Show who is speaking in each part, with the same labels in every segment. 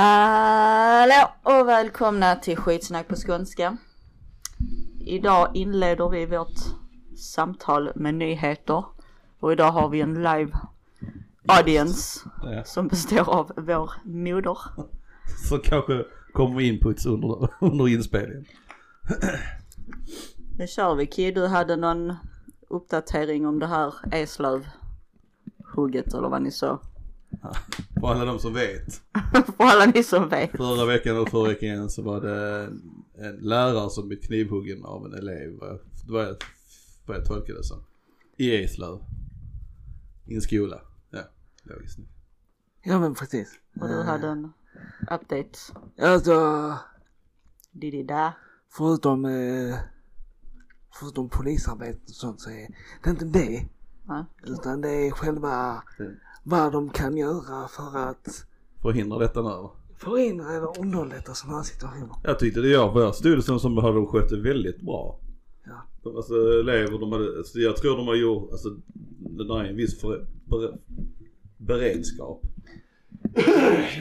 Speaker 1: Hallå och välkomna till skitsnack på skånska. Idag inleder vi vårt samtal med nyheter och idag har vi en live audience
Speaker 2: Ja.
Speaker 1: som består av vår moder.
Speaker 2: Så kanske kommer inputs under, under inspelningen.
Speaker 1: Nu kör vi Kid, du hade någon uppdatering om det här Eslöv-hugget eller vad ni sa.
Speaker 2: För alla de som vet.
Speaker 1: För alla ni som vet.
Speaker 2: Förra veckan och förra veckan igen så var det en, en lärare som blev knivhuggen av en elev. vad jag- Det var jag- vad jag tolkade det som. I Eslöv. I en skola. Ja, logiskt.
Speaker 3: Ja men precis.
Speaker 1: Och du hade en update.
Speaker 3: Alltså,
Speaker 1: Didida.
Speaker 3: förutom, eh, förutom polisarbete och sånt så är det inte det.
Speaker 1: Ja.
Speaker 3: Utan det är själva
Speaker 2: Mm.
Speaker 3: vad de kan göra för att
Speaker 2: Förhindra detta nu va?
Speaker 3: förhindra eller underlätta sådana här situationer.
Speaker 2: Jag tyckte det jag, vad jag stod det som, som hade de skött det väldigt bra.
Speaker 3: Ja.
Speaker 2: De, alltså elever, de hade, alltså, jag tror de har gjort, alltså det där är en viss för, bere, beredskap.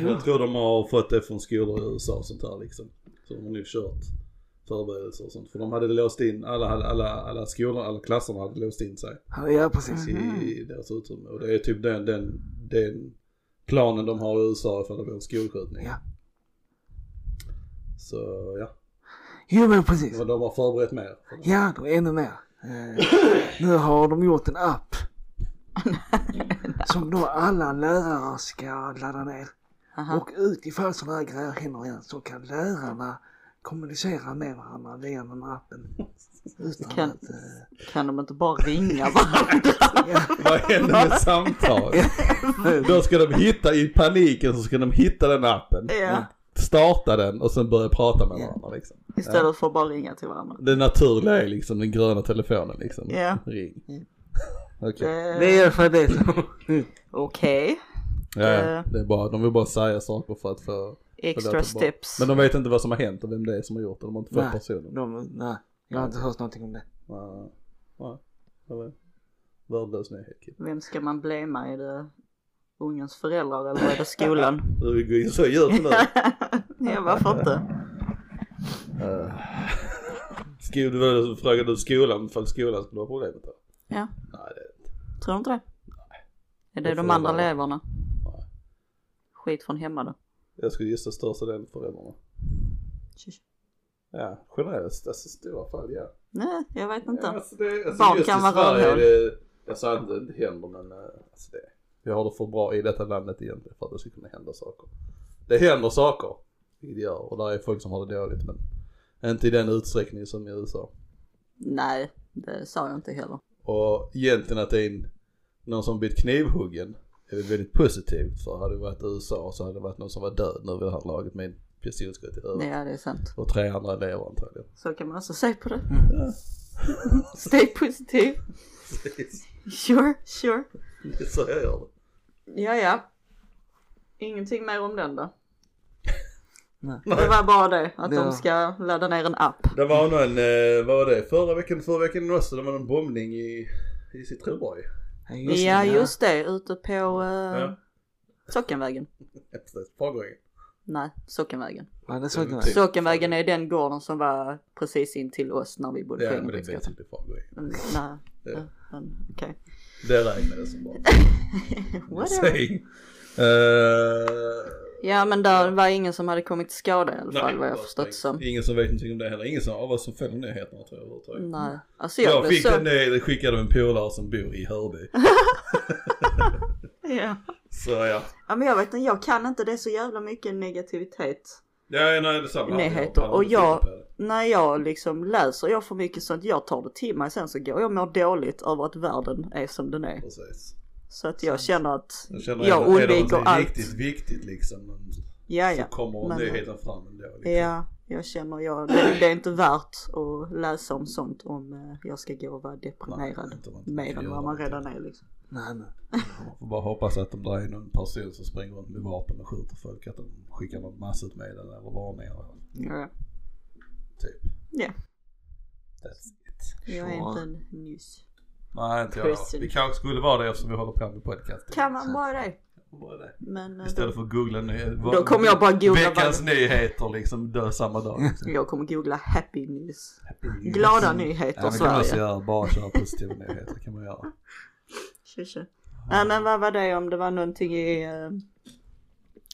Speaker 2: Jag tror de har fått det från skolor i USA och sånt här liksom. Så de har nu kört förberedelser och sånt. För de hade låst in, alla, alla, alla, alla skolor, alla klasserna hade låst in sig
Speaker 3: Ja, Ja precis.
Speaker 2: i, i deras utrymme. Och det är typ den, den, den planen de har i USA ifall det blir en skolskjutning.
Speaker 3: Ja.
Speaker 2: Så ja.
Speaker 3: Jo men precis.
Speaker 2: Men de har förberett mer.
Speaker 3: Ja, då ännu mer. Eh, nu har de gjort en app. Som då alla lärare ska ladda ner.
Speaker 1: Aha.
Speaker 3: Och utifall sådana här grejer händer igen så kan lärarna kommunicera med varandra via den här appen. Utan
Speaker 1: Kan-
Speaker 3: att... eh,
Speaker 1: Kan de inte bara ringa varandra?
Speaker 2: Vad händer med samtal? Då ska de hitta, i paniken så ska de hitta den appen.
Speaker 1: Ja.
Speaker 2: Starta den och sen börja prata med
Speaker 3: Ja.
Speaker 2: varandra liksom.
Speaker 1: Istället för att bara ringa till varandra.
Speaker 2: Det naturliga är liksom den gröna telefonen liksom.
Speaker 1: Ja.
Speaker 2: Ring. Okej.
Speaker 1: Eh,
Speaker 3: det är i alla fall det som...
Speaker 1: Okej.
Speaker 2: Ja,
Speaker 1: eh.
Speaker 2: ja. Det är bara, de vill bara säga saker för att få... få låta
Speaker 1: Extra
Speaker 2: bra.
Speaker 1: steps.
Speaker 2: Men de vet inte vad som har hänt och vem det är som har gjort det. De har inte fått
Speaker 3: Nej.
Speaker 2: personen.
Speaker 3: De, nej, jag har inte hört någonting om det.
Speaker 2: Nej. Nej. Det var en Värdelös nyhet kid.
Speaker 1: Vem ska man blamea? Är det ungens föräldrar eller är det skolan?
Speaker 2: Du vill gå in så djupt nu.
Speaker 1: ja, varför inte?
Speaker 2: Eh. Skol, det var det som frågade du skolan ifall skolan skulle vara problemet då?
Speaker 1: Ja.
Speaker 2: Nej, det,
Speaker 1: Tror du inte det? Är det
Speaker 2: Jag
Speaker 1: de
Speaker 2: får
Speaker 1: andra
Speaker 2: väl-
Speaker 1: eleverna?
Speaker 2: Nej.
Speaker 1: Skit från hemma då.
Speaker 2: jag skulle gissa största delen föräldrarna.
Speaker 1: Tjus.
Speaker 2: Ja, generellt, alltså stora fall ja.
Speaker 1: Nej, jag vet inte.
Speaker 2: Ja, alltså det, alltså
Speaker 1: Barn
Speaker 2: just
Speaker 1: kan
Speaker 2: i
Speaker 1: vara
Speaker 2: Sverige är
Speaker 1: rövhål.
Speaker 2: det, jag sa inte det händer men eh, alltså det, vi har det för bra i detta landet egentligen för att det ska kunna hända saker. Det händer saker, vilket det gör, och där är folk som har det dåligt men inte i den utsträckning som i USA.
Speaker 1: Nej, det sa jag inte heller.
Speaker 2: Och egentligen att det är en, någon som blivit knivhuggen är väl väldigt positivt för hade det varit USA så hade det varit någon som var död nu vid det här laget med en pistolskott i huvudet.
Speaker 1: Ja, det är sant.
Speaker 2: Och tre andra elever antagligen.
Speaker 1: Så kan man också se på det. Stay positiv. Sure, sure.
Speaker 2: Det är så jag gör det.
Speaker 1: Ja, ja. Ingenting mer om den då.
Speaker 3: Nej.
Speaker 1: Det var bara det, att
Speaker 3: Det
Speaker 1: de
Speaker 3: var-
Speaker 1: ska ladda ner en app.
Speaker 2: Det var någon, eh, vad var det, förra veckan, förra veckan också, det var någon bombning i, i Citronborg.
Speaker 3: just
Speaker 1: ja,
Speaker 3: det,
Speaker 1: just det, ute på eh,
Speaker 2: Ja.
Speaker 1: Sockenvägen.
Speaker 2: Ja, precis, Fagerängen.
Speaker 1: Nej, Sockenvägen.
Speaker 3: Ja, det såg jag.
Speaker 2: Typ.
Speaker 1: Sockenvägen är den gården som var precis in till oss när vi bodde
Speaker 2: Ja,
Speaker 1: på
Speaker 2: men det är
Speaker 1: Engelbrektsgatan.
Speaker 2: typ i Fagerängen.
Speaker 1: Mm, Nej,
Speaker 2: Ja.
Speaker 1: men okej.
Speaker 2: Det räknades som bara.
Speaker 1: Whatever.
Speaker 2: Uh,
Speaker 1: Ja, men där var ingen som hade kommit till skada i alla fall vad jag förstått som.
Speaker 2: Ingen som vet någonting om det heller, ingen som, av oss som följer nyheterna tror jag överhuvudtaget.
Speaker 1: Nej, alltså jag,
Speaker 2: Jag
Speaker 1: blev
Speaker 2: fick
Speaker 1: så...
Speaker 2: den eh, skickad av en polare som bor i Hörby.
Speaker 1: Ja.
Speaker 2: Så ja.
Speaker 1: ja, men jag vet inte, jag kan inte, det är så jävla mycket negativitet.
Speaker 2: Ja, nej det samma. här.
Speaker 1: Nyheter.
Speaker 2: har
Speaker 1: Och
Speaker 2: inte tittat
Speaker 1: jag-
Speaker 2: på det.
Speaker 1: när jag liksom läser jag för mycket sånt, jag tar det till mig sen så går jag och mår dåligt över att världen är som den är.
Speaker 2: Precis.
Speaker 1: Så att jag känner att
Speaker 2: Jag, känner,
Speaker 1: Jag
Speaker 2: är det- är det
Speaker 1: undviker
Speaker 2: någonting
Speaker 1: allt.
Speaker 2: riktigt viktigt liksom. men
Speaker 1: ja
Speaker 2: Så
Speaker 1: ja,
Speaker 2: kommer
Speaker 1: Men-
Speaker 2: nyheten fram ändå. Liksom.
Speaker 1: ja jag känner jag, det, det är inte värt att läsa om sånt om eh, jag ska gå och vara deprimerad
Speaker 2: inte om man inte
Speaker 1: mer
Speaker 2: kan
Speaker 1: än
Speaker 2: göra
Speaker 1: vad man
Speaker 2: någonting.
Speaker 1: redan är liksom.
Speaker 3: Nej, nej.
Speaker 2: Man får bara hoppas att om det är någon person som springer runt med vapen och skjuter folk att de skickar något massutmeddelande eller varningar.
Speaker 1: Mm. Ja,
Speaker 2: Typ.
Speaker 1: Ja.
Speaker 2: That's it.
Speaker 1: jag är
Speaker 3: Ja.
Speaker 1: inte en news.
Speaker 2: Nej inte jag.
Speaker 1: Person.
Speaker 2: Vi kanske skulle vara det eftersom vi håller på med podcast.
Speaker 1: Kan man bara det?
Speaker 2: Bara det.
Speaker 1: Men eh,
Speaker 2: Istället för att googla ny...
Speaker 1: då kommer jag bara googla.
Speaker 2: Veckans
Speaker 1: vad-
Speaker 2: nyheter liksom dö samma dag. Liksom.
Speaker 1: Jag kommer googla happy news. Glada nyheter
Speaker 2: Ja, men kan man också
Speaker 1: Sverige.
Speaker 2: göra, bara köra positiva nyheter kan man göra.
Speaker 1: Tjo, tjo. Nej men vad var det om det var någonting i eh,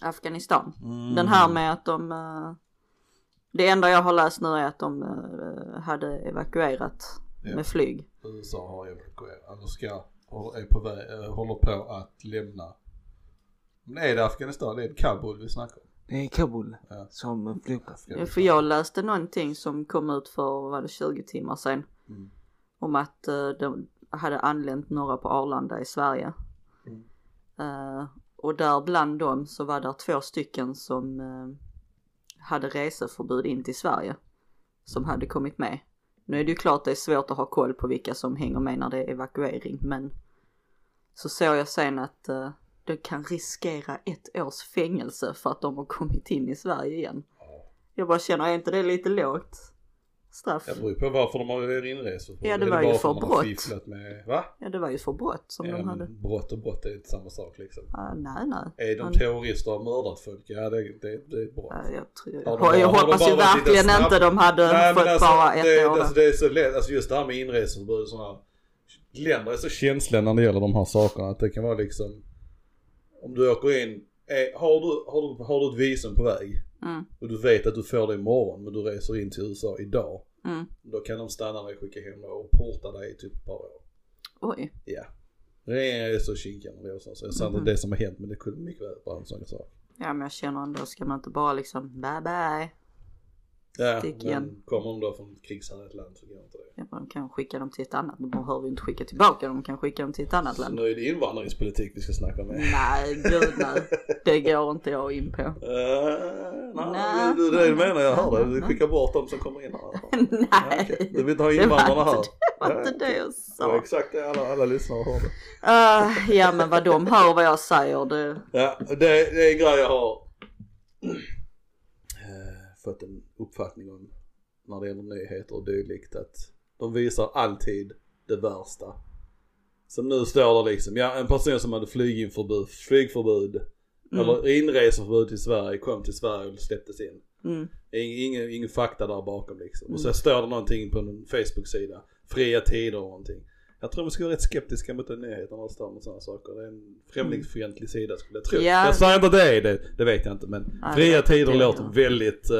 Speaker 1: Afghanistan?
Speaker 2: Mm.
Speaker 1: Den här med att de eh, Det enda jag har läst nu är att de eh, hade evakuerat
Speaker 2: Ja.
Speaker 1: med flyg.
Speaker 2: USA har evakuerat, eller ska, och är på väg, eh, håller på att lämna. Men är det Afghanistan? Det är Kabul vi snackar om.
Speaker 3: Det är Kabul
Speaker 2: Ja.
Speaker 3: som flygplats.
Speaker 2: Afghanistan.
Speaker 1: För jag läste någonting som kom ut för vad var det 20 timmar sedan.
Speaker 2: Mm.
Speaker 1: Om att eh, de hade anlänt några på Arlanda i Sverige.
Speaker 2: Mm.
Speaker 1: Eh, och där bland dem så var det två stycken som eh, hade reseförbud in till Sverige. Som hade kommit med. Nu är det ju klart det är svårt att ha koll på vilka som hänger med när det är evakuering men så såg jag sen att eh, de kan riskera ett års fängelse för att de har kommit in i Sverige igen. Jag bara känner, är inte det lite lågt straff?
Speaker 2: Det beror ju på varför de har inresor.
Speaker 1: Ja, det
Speaker 2: Är
Speaker 1: var ju
Speaker 2: bara
Speaker 1: för
Speaker 2: man har
Speaker 1: brott.
Speaker 2: fifflat Med, va?
Speaker 1: Ja det var ju för brott som
Speaker 2: Ja,
Speaker 1: de
Speaker 2: men
Speaker 1: hade.
Speaker 2: Brott och brott är inte samma sak liksom.
Speaker 1: Ah, nej nej.
Speaker 2: Är de
Speaker 1: Men-
Speaker 2: terrorister och har mördat folk? Ja det, det, det är ett brott.
Speaker 1: Ja, jag tror,
Speaker 2: Har de
Speaker 1: jag
Speaker 2: bara- har de
Speaker 1: hoppas ju
Speaker 2: bara varit lite
Speaker 1: verkligen
Speaker 2: snabba?
Speaker 1: inte de hade
Speaker 2: Nej,
Speaker 1: fått
Speaker 2: men alltså,
Speaker 1: bara ett
Speaker 2: det,
Speaker 1: år.
Speaker 2: Alltså, det är så lätt, alltså just det här med inreseförbud och sådana länder är så känsliga när det gäller de här sakerna att det kan vara liksom om du åker in, eh, har, du, har, du, har du ett visum på väg
Speaker 1: mm,
Speaker 2: och du vet att du får det imorgon men du reser in till USA idag
Speaker 1: mm.
Speaker 2: då kan de stanna dig, skicka hem dig och porta dig i typ ett par år.
Speaker 1: Oj.
Speaker 2: Ja. Regeringen är så kinkiga när det gäller sånt. Så jag sa inte
Speaker 1: Mhm.
Speaker 2: det som har hänt men det kunde mycket väl vara en sån sak.
Speaker 1: Ja men jag känner ändå, ska man inte bara liksom bye bye.
Speaker 2: Ja,
Speaker 1: Stick
Speaker 2: men
Speaker 1: igen.
Speaker 2: kommer de då från ett krigshärjat land så går inte det.
Speaker 1: Ja, men de kan skicka dem till ett annat, de behöver ju inte skicka tillbaka dem, de kan skicka dem till ett annat
Speaker 2: Så
Speaker 1: land.
Speaker 2: nu är det invandringspolitik vi ska snacka om.
Speaker 1: Nej gud nej, det går inte jag in på.
Speaker 2: Eh, nej,
Speaker 1: Nej.
Speaker 2: det är det du menar, jag hör det. Du skickar bort dem som kommer in här. Ja,
Speaker 1: nej,
Speaker 2: okej. Du vill inte ha
Speaker 1: det var
Speaker 2: invandrarna här?
Speaker 1: inte, det var inte det jag
Speaker 2: Det var
Speaker 1: sa.
Speaker 2: exakt det alla, alla lyssnare hörde.
Speaker 1: Ah, ja men vad de hör vad jag säger det,
Speaker 2: Ja, det, det är en grej jag har eh, fått en uppfattning om när det gäller nyheter och dylikt att de visar alltid det värsta. Som nu står det liksom, ja en person som hade flyginförbud, flygförbud
Speaker 1: Mm.
Speaker 2: eller inreseförbud till Sverige kom till Sverige och släpptes in.
Speaker 1: mm,
Speaker 2: Ing- Ingen, ingen fakta där bakom liksom. Och så står det någonting på en Facebook-sida. Fria tider och någonting. Jag tror vi ska vara rätt skeptiska mot den nyheten när det står om sådana saker. Det är en främlingsfientlig sida skulle jag tro.
Speaker 1: Ja.
Speaker 2: Jag säger inte att det är det, det vet jag inte. Men
Speaker 1: Nej,
Speaker 2: fria
Speaker 1: det-
Speaker 2: tider
Speaker 1: det-
Speaker 2: låter väldigt eh,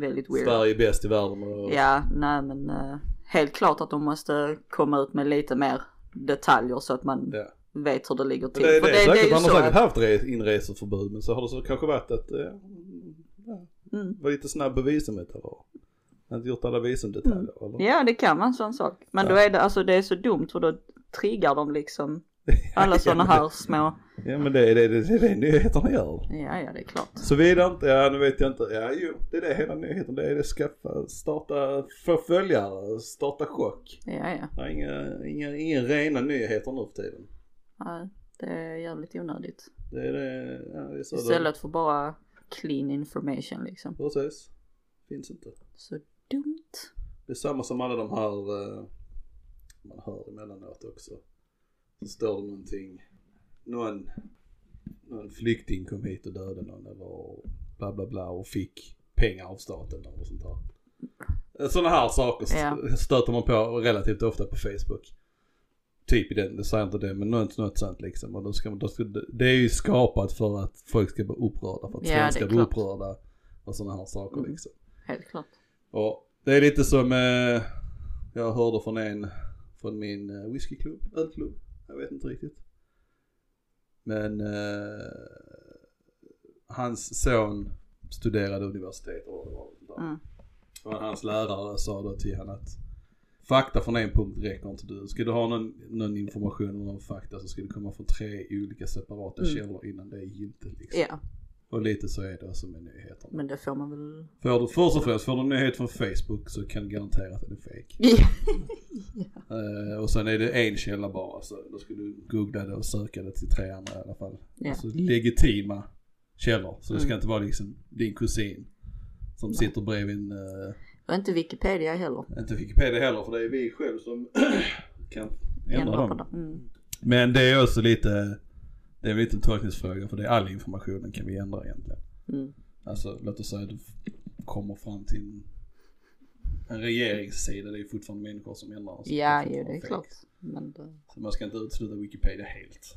Speaker 1: väldigt weird.
Speaker 2: Sverige är bäst i världen. Och,
Speaker 1: Ja, nej men eh, helt klart att de måste komma ut med lite mer detaljer så att man
Speaker 2: Ja.
Speaker 1: vet hur det ligger till.
Speaker 2: Det, det,
Speaker 1: För
Speaker 2: är säkert,
Speaker 1: ju
Speaker 2: han har
Speaker 1: så
Speaker 2: säkert
Speaker 1: att-
Speaker 2: haft re- inreseförbud men så har det så kanske varit att eh, ja,
Speaker 1: Mm.
Speaker 2: var lite snabb på visumet eller inte gjort alla visumdetaljer eller?
Speaker 1: Mm. Ja, det kan vara en sån sak. Men
Speaker 2: Ja.
Speaker 1: då är det, alltså det är så dumt för då triggar de liksom alla sådana här små,
Speaker 2: Ja men det är det, det, det, är det nyheterna gör.
Speaker 1: ja ja det är klart.
Speaker 2: Såvida inte, ja nu vet jag inte, ja jo det är det hela nyheten, det är det skaffa, starta förföljare, starta chock.
Speaker 1: Ja ja,
Speaker 2: Det är inga, inga, inga rena nyheter nu för tiden.
Speaker 1: nej, det är jävligt onödigt.
Speaker 2: Det är det, ja det är så
Speaker 1: Istället för bara clean information liksom.
Speaker 2: det Precis. Finns inte.
Speaker 1: Så dumt.
Speaker 2: Det är samma som alla de här, eh, man hör emellanåt också. Så står det någonting, någon, någon flykting kom hit och dödade någon eller bla bla bla och fick pengar av staten eller sånt där. Sådana här saker st-
Speaker 1: Ja.
Speaker 2: stöter man på relativt ofta på Facebook. Typ i den, det säger inte det men något, något sånt liksom. Och då ska, man- då ska, det är ju skapat för att folk ska bli upprörda, för att
Speaker 1: Ja, det är
Speaker 2: svenskar blir
Speaker 1: klart.
Speaker 2: upprörda och sådana här saker
Speaker 1: Mm.
Speaker 2: liksom.
Speaker 1: Helt klart.
Speaker 2: Ja, det är lite som eh, jag hörde från en från min eh, whiskyklubb, ölklubb. Jag vet inte riktigt. Men eh, hans son studerade universitet och vad det var.
Speaker 1: Mm.
Speaker 2: Och hans lärare sa då till honom att fakta från en punkt räcker inte du. Ska du ha någon, någon information om någon fakta så ska det komma från tre olika separata
Speaker 1: Mm.
Speaker 2: källor innan det är giltigt. Liksom.
Speaker 1: Ja,
Speaker 2: Och lite så är det också med nyheterna.
Speaker 1: men det får man väl.
Speaker 2: Får du först och främst, får du en nyhet från Facebook så kan du garantera att den är fake.
Speaker 1: Ja.
Speaker 2: Eh, och sen är det en källa bara så då ska du googla det och söka det till tre andra i alla fall.
Speaker 1: Ja.
Speaker 2: Alltså legitima källor. Så det ska
Speaker 1: Mm.
Speaker 2: inte vara liksom din kusin som sitter bredvid en, eh,
Speaker 1: Och inte Wikipedia heller.
Speaker 2: inte Wikipedia heller för det är vi själv som kan ändra
Speaker 1: Ändra på
Speaker 2: dem.
Speaker 1: det. Mm.
Speaker 2: Men det är också lite, Det är lite en tolkningsfråga för det är all informationen kan vi ändra egentligen.
Speaker 1: Mm.
Speaker 2: Alltså låt oss säga att du f- kommer fram till en- en regeringssida. Det är ju fortfarande människor som ändrar. så
Speaker 1: Ja,
Speaker 2: fortfarande
Speaker 1: jo, det är
Speaker 2: fake.
Speaker 1: klart. Men det,
Speaker 2: Så man ska inte utesluta Wikipedia helt.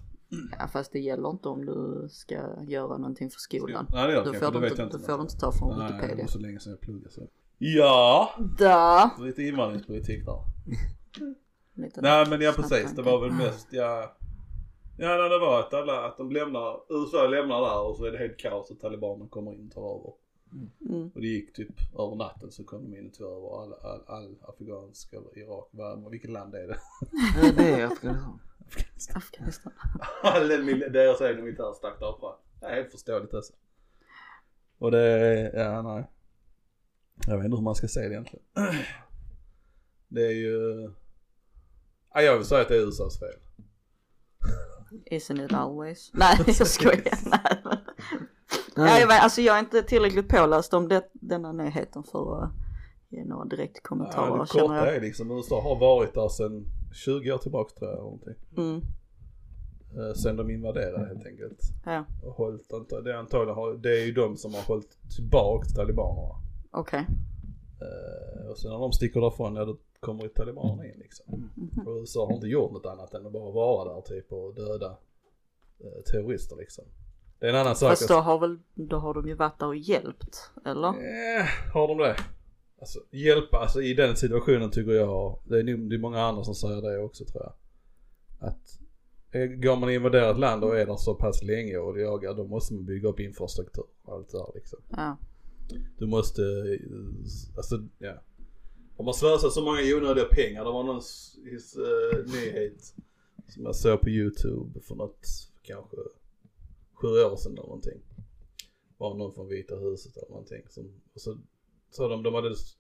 Speaker 1: ja, fast det gäller inte om du ska göra någonting för skolan.
Speaker 2: Nej det gör
Speaker 1: Då
Speaker 2: kanske,
Speaker 1: får
Speaker 2: det
Speaker 1: du
Speaker 2: vet
Speaker 1: inte,
Speaker 2: jag
Speaker 1: då
Speaker 2: men-
Speaker 1: får du inte ta från
Speaker 2: Nej, det
Speaker 1: Wikipedia.
Speaker 2: var så länge sedan jag pluggade så. Ja,
Speaker 1: Där!
Speaker 2: lite invandringspolitik där.
Speaker 1: Lite
Speaker 2: Nej men ja
Speaker 1: snabb
Speaker 2: precis, det
Speaker 1: tanke.
Speaker 2: var väl mest ja. Ja nej, det var att alla, att de lämnar, USA lämnar där och så är det helt kaos och talibanerna kommer in och tar över.
Speaker 1: Mm.
Speaker 2: Och det gick typ över natten så kom de in och tog över all, all, all afghansk eller Irak, vad- vilket land är det?
Speaker 3: Ja, det är Afghanistan.
Speaker 1: Afghanistan.
Speaker 2: All den mil- deras egen militär stack därifrån. Det är helt förståeligt alltså. Och det, ja nej. Jag vet inte hur man ska säga det egentligen. Det är ju, ja, jag vill säga att det är USAs fel.
Speaker 1: Isn't it always? Nej, jag skojar. Nej, men- Ja,
Speaker 3: Nej.
Speaker 1: jag, vet, alltså jag är inte tillräckligt påläst om det, denna nyheten för att ge några direkt kommentarer.
Speaker 2: Ja, det
Speaker 1: känner
Speaker 2: korta
Speaker 1: jag.
Speaker 2: är liksom USA har varit där sedan 20 år tillbaka tror jag. eller Någonting.
Speaker 1: Mm,
Speaker 2: Eh, Sen de invaderade helt enkelt.
Speaker 1: ja,
Speaker 2: Och hållit, anta- det, är antagligen, har- det är ju de som har hållit tillbaka talibanerna.
Speaker 1: okej.
Speaker 2: Eh, Och sen när de sticker därifrån, ja då kommer ju talibanerna in liksom.
Speaker 1: Mhm.
Speaker 2: Och USA har inte gjort något annat än att bara vara där typ och döda eh, terrorister liksom. Det är en annan sak.
Speaker 1: Fast då har väl, då har de ju varit där och hjälpt, eller?
Speaker 2: Eh, har de det? Alltså hjälpa, alltså i den situationen tycker jag, det är, nog- det är många andra som säger det också tror jag. Att eh, går man och invaderar ett land och är där så pass länge och jagar, då måste man bygga upp infrastruktur och allt det där liksom.
Speaker 1: Ja.
Speaker 2: Du måste, eh, alltså ja. Om man slösar så många onödiga pengar, det var någon s- his, eh, nyhet som jag såg på YouTube för något, kanske sju år sedan eller någonting. Var någon från Vita huset eller någonting. Som, och så sa de, de hade s-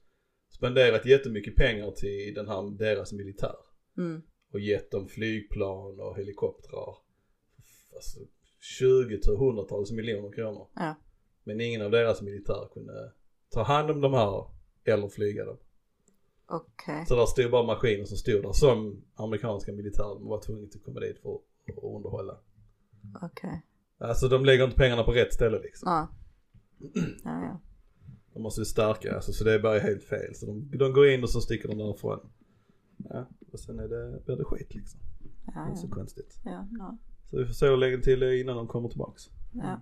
Speaker 2: spenderat jättemycket pengar till den här, deras militär.
Speaker 1: Mm.
Speaker 2: Och gett dem flygplan och helikoptrar. Alltså 20 till hundratals miljoner kronor.
Speaker 1: Ja.
Speaker 2: Men ingen av deras militär kunde ta hand om de här eller flyga dem.
Speaker 1: Okej.
Speaker 2: Så där stod bara maskiner som stod där som amerikanska militären var tvungna att komma dit för att underhålla.
Speaker 1: Okej.
Speaker 2: Alltså de lägger inte pengarna på rätt ställe liksom.
Speaker 1: Ja. Ja, ja.
Speaker 2: De måste ju stärka, alltså, så det är bara helt fel. Så de, de går in och så sticker de därifrån. Ja, och sen är det, blir det skit liksom. Det är
Speaker 1: Ja,
Speaker 2: inte så
Speaker 1: ja.
Speaker 2: konstigt.
Speaker 1: Ja, no.
Speaker 2: Så vi får se hur länge till det är innan de kommer tillbaks.
Speaker 1: ja.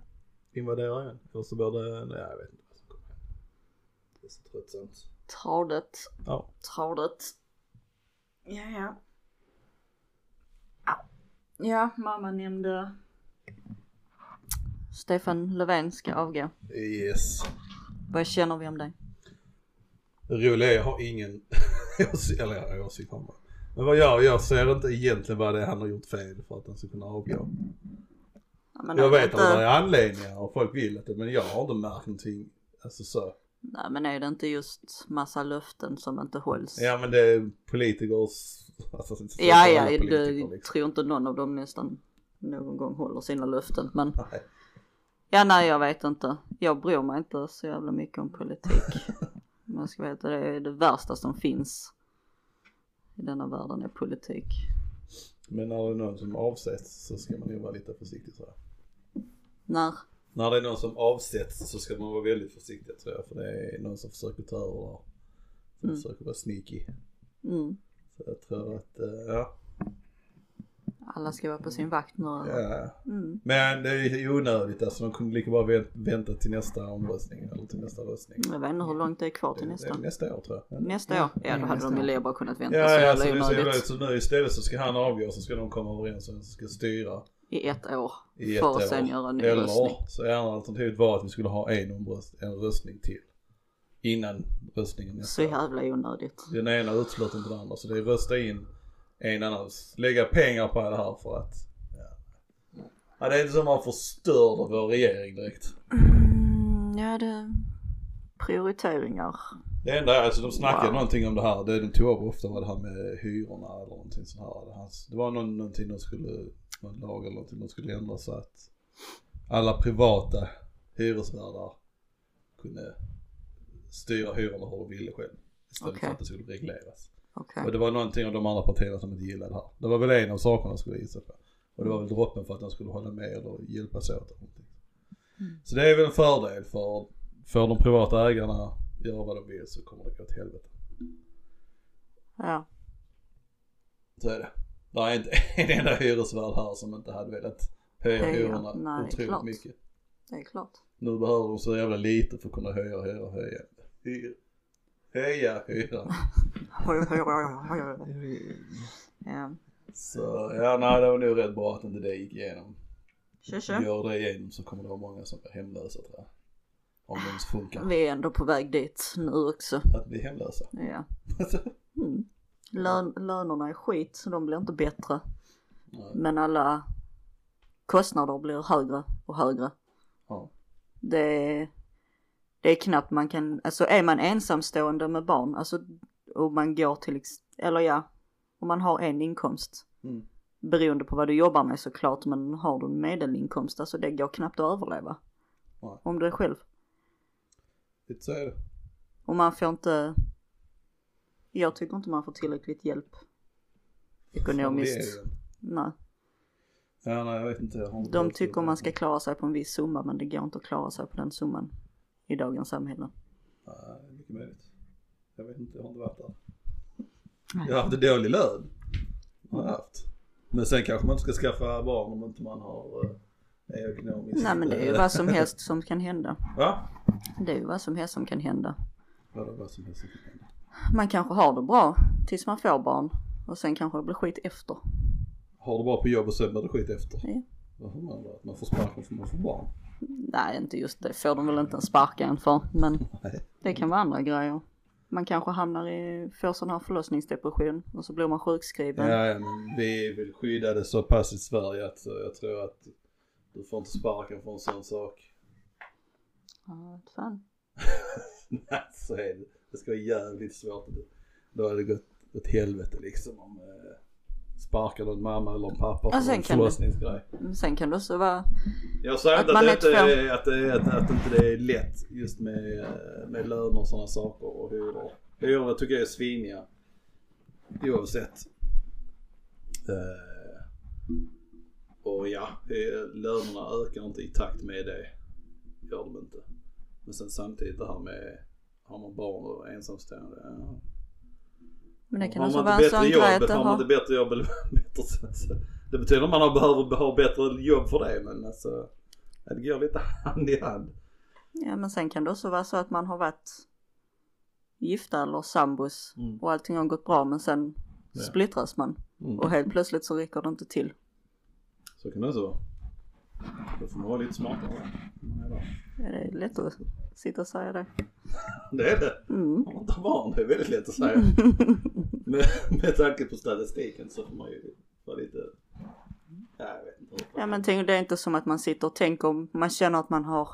Speaker 2: Invadera igen. Eller så blir det, nej jag vet inte vad som kommer hända. Det är så tröttsamt.
Speaker 1: Tradet.
Speaker 2: Ja.
Speaker 1: Tradet. Ja, ja. Au. Ja, mamma nämnde Stefan Löfven ska avgå.
Speaker 2: Yes.
Speaker 1: Vad känner vi om det?
Speaker 2: Det roliga är jag har ingen åsikt, eller jag har åsikt om det. Men vad jag, jag ser inte egentligen vad det är han har gjort fel för att han ska kunna avgå.
Speaker 1: Ja, men
Speaker 2: Jag
Speaker 1: är det
Speaker 2: vet att
Speaker 1: inte-
Speaker 2: det är anledningar och folk vill att det, men jag har inte märkt någonting. Alltså så.
Speaker 1: Nej men är det inte just massa löften som inte hålls?
Speaker 2: Ja men det är politikers, alltså det är
Speaker 1: ja,
Speaker 2: alla
Speaker 1: ja
Speaker 2: politiker,
Speaker 1: du
Speaker 2: liksom.
Speaker 1: tror inte någon av dem nästan någon gång håller sina löften men
Speaker 2: Nej.
Speaker 1: ja nej jag vet inte. Jag bryr mig inte så jävla mycket om politik. Om jag ska veta det är det värsta som finns i denna världen är politik.
Speaker 2: Men när det är någon som avsätts så ska man ju vara lite försiktig tror jag.
Speaker 1: När?
Speaker 2: När det är någon som avsätts så ska man vara väldigt försiktig tror jag. För det är någon som försöker ta över där. Som
Speaker 1: Mm.
Speaker 2: försöker vara sneaky.
Speaker 1: Mm.
Speaker 2: Så jag tror att, eh, ja.
Speaker 1: Alla ska vara på sin vakt nu.
Speaker 2: ja.
Speaker 1: Mm.
Speaker 2: Men det är ju onödigt alltså. De kunde lika bra vänt- vänta till nästa omröstning eller till nästa röstning.
Speaker 1: Jag vet inte hur långt det är kvar Mm, till
Speaker 2: Det- det är
Speaker 1: nästa. Mm.
Speaker 2: nästa år tror jag.
Speaker 1: Nästa år? Ja då hade
Speaker 3: nästa
Speaker 1: de ju
Speaker 3: år.
Speaker 1: lika bra kunnat vänta
Speaker 2: Ja, ja,
Speaker 1: så
Speaker 2: så, det är
Speaker 1: jävla
Speaker 2: så, jävla-
Speaker 1: Alltså, onödigt.
Speaker 2: så nu istället så ska han avgå så ska de komma överens och ska styra
Speaker 1: I ett år.
Speaker 2: i ett
Speaker 1: för
Speaker 2: år.
Speaker 1: att sen göra en ny
Speaker 2: Eller
Speaker 1: röstning.
Speaker 2: så är andra alternativet var att vi skulle ha en, omröst, en röstning till innan röstningen
Speaker 1: Så
Speaker 2: nästa år.
Speaker 1: jävla onödigt.
Speaker 2: Den ena utslöt inte den andra så det är rösta in en annan, lägga pengar på det här för att ja. Ja, det är inte som man förstörde vår regering direkt.
Speaker 1: Mm, ja det... Prioriteringar.
Speaker 2: Det enda är alltså de snackade
Speaker 1: Wow.
Speaker 2: någonting om det här, det de tog upp ofta var det här med hyrorna eller någonting sånt här. Det, här, det var någon, någonting de skulle, någon lag eller någonting de skulle ändra så att alla privata hyresvärdar kunde styra hyrorna hur de ville själv. Istället för
Speaker 1: Okej.
Speaker 2: att det skulle regleras.
Speaker 1: Okej.
Speaker 2: Och det var någonting av de andra partierna som inte gillade det här. Det var väl en av sakerna skulle jag gissa på. Och det var väl droppen för att de skulle hålla med eller hjälpas åt. eller någonting.
Speaker 1: Mm.
Speaker 2: Så det är väl en fördel för får de privata ägarna göra vad de vill så kommer det gå åt helvete.
Speaker 1: Ja.
Speaker 2: Så är det. Det är inte en enda hyresvärd här som inte hade velat höja
Speaker 1: Höja,
Speaker 2: hyrorna
Speaker 1: nej, det är
Speaker 2: otroligt
Speaker 1: klart.
Speaker 2: mycket.
Speaker 1: Det är klart.
Speaker 2: Nu behöver de så jävla lite för att kunna höja, höja, höja. Hyra. Höja hyran.
Speaker 1: Ja.
Speaker 2: Så ja, nej det var nog rätt bra att inte det gick igenom.
Speaker 1: Kör, kör.
Speaker 2: Gör det igenom så kommer det vara många som blir hemlösa tror jag. Om det ens funkar.
Speaker 1: Vi är ändå på väg dit nu också.
Speaker 2: Att bli hemlösa.
Speaker 1: Ja.
Speaker 2: Alltså.
Speaker 1: Mm. Lön, lönerna är skit så de blir inte bättre.
Speaker 2: Nej.
Speaker 1: Men alla kostnader blir högre och högre.
Speaker 2: Ja.
Speaker 1: Det är, det är knappt man kan, alltså är man ensamstående med barn, alltså och man går till, ex- eller ja, om man har en inkomst.
Speaker 2: Mm.
Speaker 1: Beroende på vad du jobbar med såklart, men har du en medelinkomst, alltså det går knappt att överleva.
Speaker 2: Nej.
Speaker 1: Om du är själv.
Speaker 2: Lite så är det.
Speaker 1: Och man får inte, jag tycker inte man får tillräckligt hjälp. Ekonomiskt.
Speaker 2: Det är det.
Speaker 1: Nej.
Speaker 2: Ja, nej jag vet inte. Jag har inte
Speaker 1: De
Speaker 2: hört
Speaker 1: tycker
Speaker 2: det.
Speaker 1: man ska klara sig på en viss summa men det går inte att klara sig på den summan i dagens samhälle.
Speaker 2: Nej, det är mycket möjligt. Jag vet inte, jag har inte varit där. Jag har haft en dålig lön. Har jag haft. Men sen kanske man inte ska skaffa barn om inte man har eh, är ekonomiskt. eh,
Speaker 1: Nej men det är ju vad som helst som kan hända.
Speaker 2: Va?
Speaker 1: Det är ju vad som helst som kan hända.
Speaker 2: Vadå vad som helst som kan hända?
Speaker 1: Man kanske har det bra tills man får barn och sen kanske det blir skit efter.
Speaker 2: Har du bara på jobb och sen blir det skit efter.
Speaker 1: Ja.
Speaker 2: Vad får man då? Att man får sparken för man får barn?
Speaker 1: Nej inte just det får de väl inte en sparka en för men
Speaker 2: Nej.
Speaker 1: det kan vara andra grejer. Man kanske hamnar i, får sån här förlossningsdepression och så blir man sjukskriven.
Speaker 2: Ja, ja, men vi är väl skyddade så pass i Sverige att eh, jag tror att du får inte sparken för en sån sak.
Speaker 1: Ja, vad fan.
Speaker 2: Nej, så är det. Det ska vara jävligt svårt. Då hade det gått åt helvete liksom om eh, sparkar någon mamma eller en pappa
Speaker 1: Ja,
Speaker 2: för
Speaker 1: sen
Speaker 2: en
Speaker 1: kan det-
Speaker 2: förlossningsgrej.
Speaker 1: Men Sen kan det också vara,
Speaker 2: Jag säger
Speaker 1: Att
Speaker 2: inte att,
Speaker 1: man
Speaker 2: det
Speaker 1: är
Speaker 2: inte
Speaker 1: två.
Speaker 2: är, att, det är, att, att inte det är lätt just med, eh, med löner och sådana saker och hyror. Hyrorna tycker jag är sviniga. Oavsett. Eh, och ja, eh, lönerna ökar inte i takt med det. Gör de inte. Men sen samtidigt det här med har man barn och ensamstående. Ja.
Speaker 1: men det kan
Speaker 2: Har
Speaker 1: också
Speaker 2: man
Speaker 1: vara en
Speaker 2: inte
Speaker 1: sån
Speaker 2: bättre
Speaker 1: grej att
Speaker 2: jobb,
Speaker 1: det
Speaker 2: har man
Speaker 1: har,
Speaker 2: inte bättre jobb eller bättre så- Det betyder att man har- behöver ha bättre jobb för det men alltså ja, det går lite hand i hand.
Speaker 1: ja men sen kan det också vara så att man har varit gifta eller sambos
Speaker 2: Mm.
Speaker 1: och allting har gått bra men sen
Speaker 2: Ja.
Speaker 1: splittras man och helt plötsligt så räcker det inte till.
Speaker 2: Mm. Så kan det också vara. Då får man vara lite smartare. Man är där.
Speaker 1: Ja, det är lätt att sitta och säga det.
Speaker 2: Det är det.
Speaker 1: Mm.
Speaker 2: Om man tar barn, det är väldigt lätt att säga. med, med tanke på statistiken så får man ju vara lite... Ja, jag vet inte. hur-
Speaker 1: Ja men tänk, det är inte som att man sitter och tänker om man känner att man har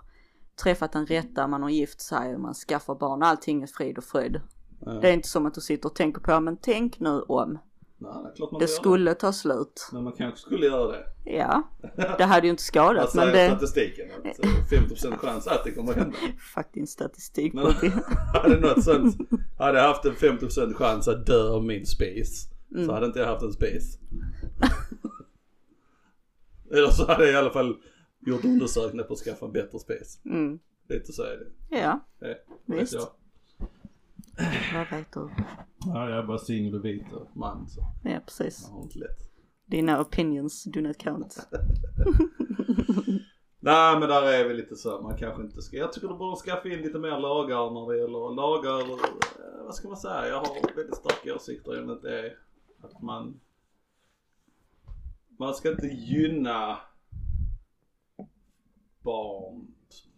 Speaker 1: träffat den rätta, man har gift sig och man skaffar barn, allting är frid och fröjd.
Speaker 2: Ja.
Speaker 1: Det är inte som att du sitter och tänker på, men tänk nu om
Speaker 2: Nej, det är klart man
Speaker 1: det
Speaker 2: ska göra
Speaker 1: skulle ta slut.
Speaker 2: Men man kanske skulle göra det.
Speaker 1: Ja, det hade ju inte skadat
Speaker 2: Alltså
Speaker 1: men det...
Speaker 2: statistiken. Att eh, 50% chans att det kommer att hända.
Speaker 1: Fuck din statistik
Speaker 2: Men-
Speaker 1: Putti.
Speaker 2: Hade något sånt, hade jag haft en 50% chans att dö av min spis. Så hade inte jag haft en spis. Eller så hade jag i alla fall gjort undersökningar på att skaffa en bättre spis.
Speaker 1: Mm.
Speaker 2: Lite så är det.
Speaker 1: Ja,
Speaker 2: Eh,
Speaker 1: Visst.
Speaker 2: vet jag.
Speaker 1: vad vet du?
Speaker 2: Ja, jag är bara singel och vit och man så
Speaker 1: Ja precis.
Speaker 2: jag har inte lätt.
Speaker 1: Dina opinions do not count.
Speaker 2: Nej men där är vi lite så här, man kanske inte ska, jag tycker de borde skaffa in lite mer lagar när det gäller lagar eller eh, vad ska man säga, jag har väldigt starka åsikter om att det är att man man ska inte gynna barn,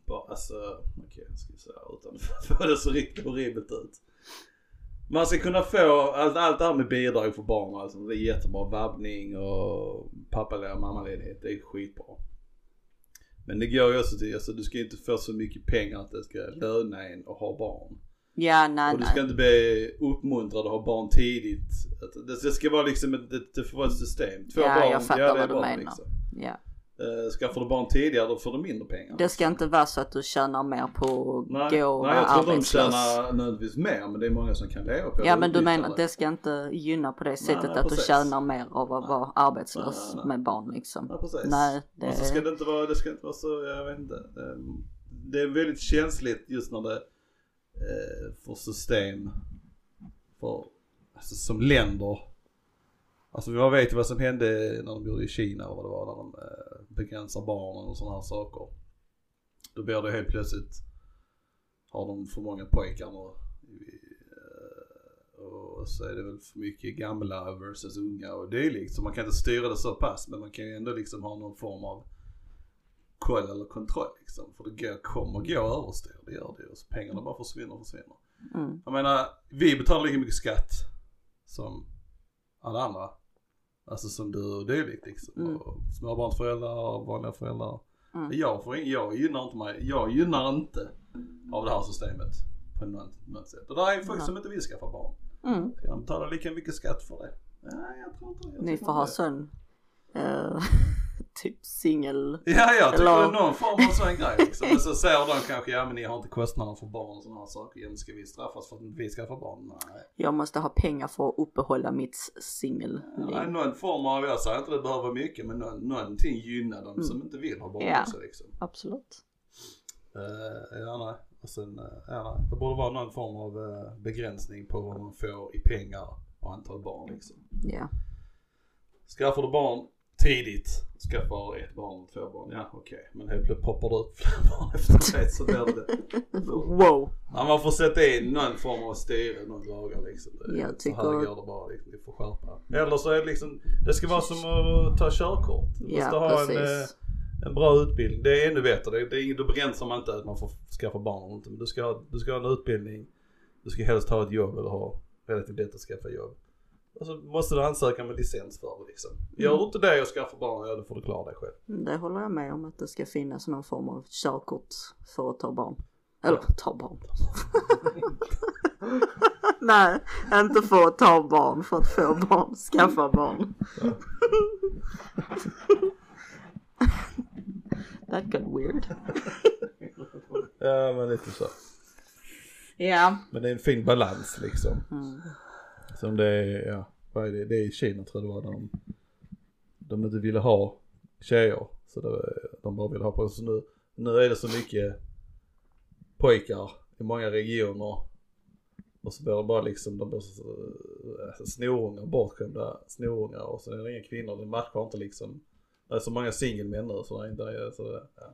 Speaker 2: ba- alltså okej jag ska säga utan att få det så riktigt horribelt ut. Man ska kunna få allt, allt det här med bidrag för barn alltså, det är jättebra, vabbning och pappaledighet och mammaledighet, det är skitbra. Men det går ju också till, alltså du ska ju inte få så mycket pengar att det ska löna en att ha barn.
Speaker 1: Ja nej
Speaker 2: Och du ska
Speaker 1: nej.
Speaker 2: inte bli uppmuntrad att ha barn tidigt. Att Det det ska vara liksom ett, det, det får vara ett system. Två
Speaker 1: Ja,
Speaker 2: barn,
Speaker 1: jag fattar
Speaker 2: det är
Speaker 1: vad du
Speaker 2: bra, liksom.
Speaker 1: menar. Ja.
Speaker 2: Eh, skaffar du barn tidigare då får du mindre pengar.
Speaker 1: Det ska inte vara så att du tjänar mer på att
Speaker 2: Nej,
Speaker 1: gå och vara
Speaker 2: nej jag tror de
Speaker 1: arbetslös.
Speaker 2: tjänar nödvändigtvis mer men det är många som kan leva på det.
Speaker 1: Ja men du
Speaker 2: Utnyttjar
Speaker 1: menar att det ska inte gynna på det sättet
Speaker 2: nej,
Speaker 1: att
Speaker 2: precis.
Speaker 1: du tjänar mer av att vara arbetslös
Speaker 2: Nej, nej, nej.
Speaker 1: med barn liksom.
Speaker 2: Ja precis.
Speaker 1: Nej, det-
Speaker 2: Och så ska det inte vara, det ska inte vara så, jag vet inte. Ehm, Det är väldigt känsligt just när det eh, för system för, alltså som länder. Alltså vi vet ju vad som hände när de gjorde i Kina och vad det var när de eh, begränsar barnen och sådana här saker. Då blir det helt plötsligt, har de för många pojkar och, och så är det väl för mycket gamla versus unga och dylikt. Så man kan inte styra det så pass men man kan ju ändå liksom ha någon form av koll eller kontroll liksom. För det går, kommer gå överstyr, det gör det ju. Och så pengarna bara försvinner och försvinner.
Speaker 1: Mm.
Speaker 2: Jag menar, vi betalar lika mycket skatt som alla andra. Alltså som du och dylikt liksom.
Speaker 1: Mm.
Speaker 2: Och Småbarnsföräldrar och vanliga föräldrar.
Speaker 1: Mm.
Speaker 2: Jag, får, in- jag gynnar inte mig, jag gynnar inte av det här systemet på något, något sätt. Och det är folk
Speaker 1: Nej.
Speaker 2: som inte vill skaffa barn.
Speaker 1: Mm.
Speaker 2: Ska de betala lika mycket skatt för det? Nej, jag tror inte jag
Speaker 1: Ni
Speaker 2: tycker
Speaker 1: får ha
Speaker 2: inte.
Speaker 1: sån eh, typ singel.
Speaker 2: Ja, jag tycker
Speaker 1: Eller-
Speaker 2: det är någon form av sån grej liksom. Men så säger de kanske, ja men ni har inte kostnader för barn och sådana här saker. Ja, men ska vi straffas för att inte vi skaffar barn? Nej.
Speaker 1: Jag måste ha pengar för att uppehålla mitt singel.
Speaker 2: Nej, någon form av, jag säger inte det behöver vara mycket, men någon, någonting gynnar dem som inte vill ha barn
Speaker 1: Mm. Ja.
Speaker 2: också liksom.
Speaker 1: Absolut.
Speaker 2: Eh, ja, nej. Och sen, eh, ja, nej. Det borde vara någon form av eh, begränsning på vad man får i pengar och antal barn liksom.
Speaker 1: Ja.
Speaker 2: Skaffar du barn tidigt, skaffar ett barn och två barn, ja okej. Men helt plötsligt poppar det ut fler barn efter det så blir det
Speaker 1: Wow.
Speaker 2: Ja, man får sätta in någon form av styre, någon lagar liksom. Det-
Speaker 1: Jag tycker-
Speaker 2: Så här går det bara liksom, vi får skärpa. Eller så är det liksom, det ska vara som att ta körkort. Du måste
Speaker 1: Ja,
Speaker 2: ha en, eh,
Speaker 1: precis.
Speaker 2: en bra utbildning. Det är ännu bättre. Det, det är, inget- då begränsar man inte att man får skaffa barn eller inte. Men du ska, ha, du ska ha en utbildning, du ska helst ha ett jobb eller ha relativt lätt att skaffa jobb. Och så måste du ansöka med licens för det liksom. Gör du inte det och skaffar barn, ja då får du klara dig själv.
Speaker 1: Det håller jag med om att det ska finnas någon form av körkort för att ta barn. Eller ta barn. Nej, inte för att ta barn, för att få barn, skaffa barn. That got weird.
Speaker 2: Ja men lite så.
Speaker 1: Ja.
Speaker 2: Men det är en fin balans liksom.
Speaker 1: Mm.
Speaker 2: Som det är, ja, vad är det? Det är i Kina tror jag det var, där de, de inte ville ha tjejer. Så det, var- de bara ville ha pojkar. Så nu, nu är det så mycket pojkar i många regioner. Och så blir det bara liksom, de blir så, alltså, snorungar, bortskämda snorungar och så är det inga kvinnor, det matchar inte liksom. Det är så många singelmän nu så det är inte, så det, ja.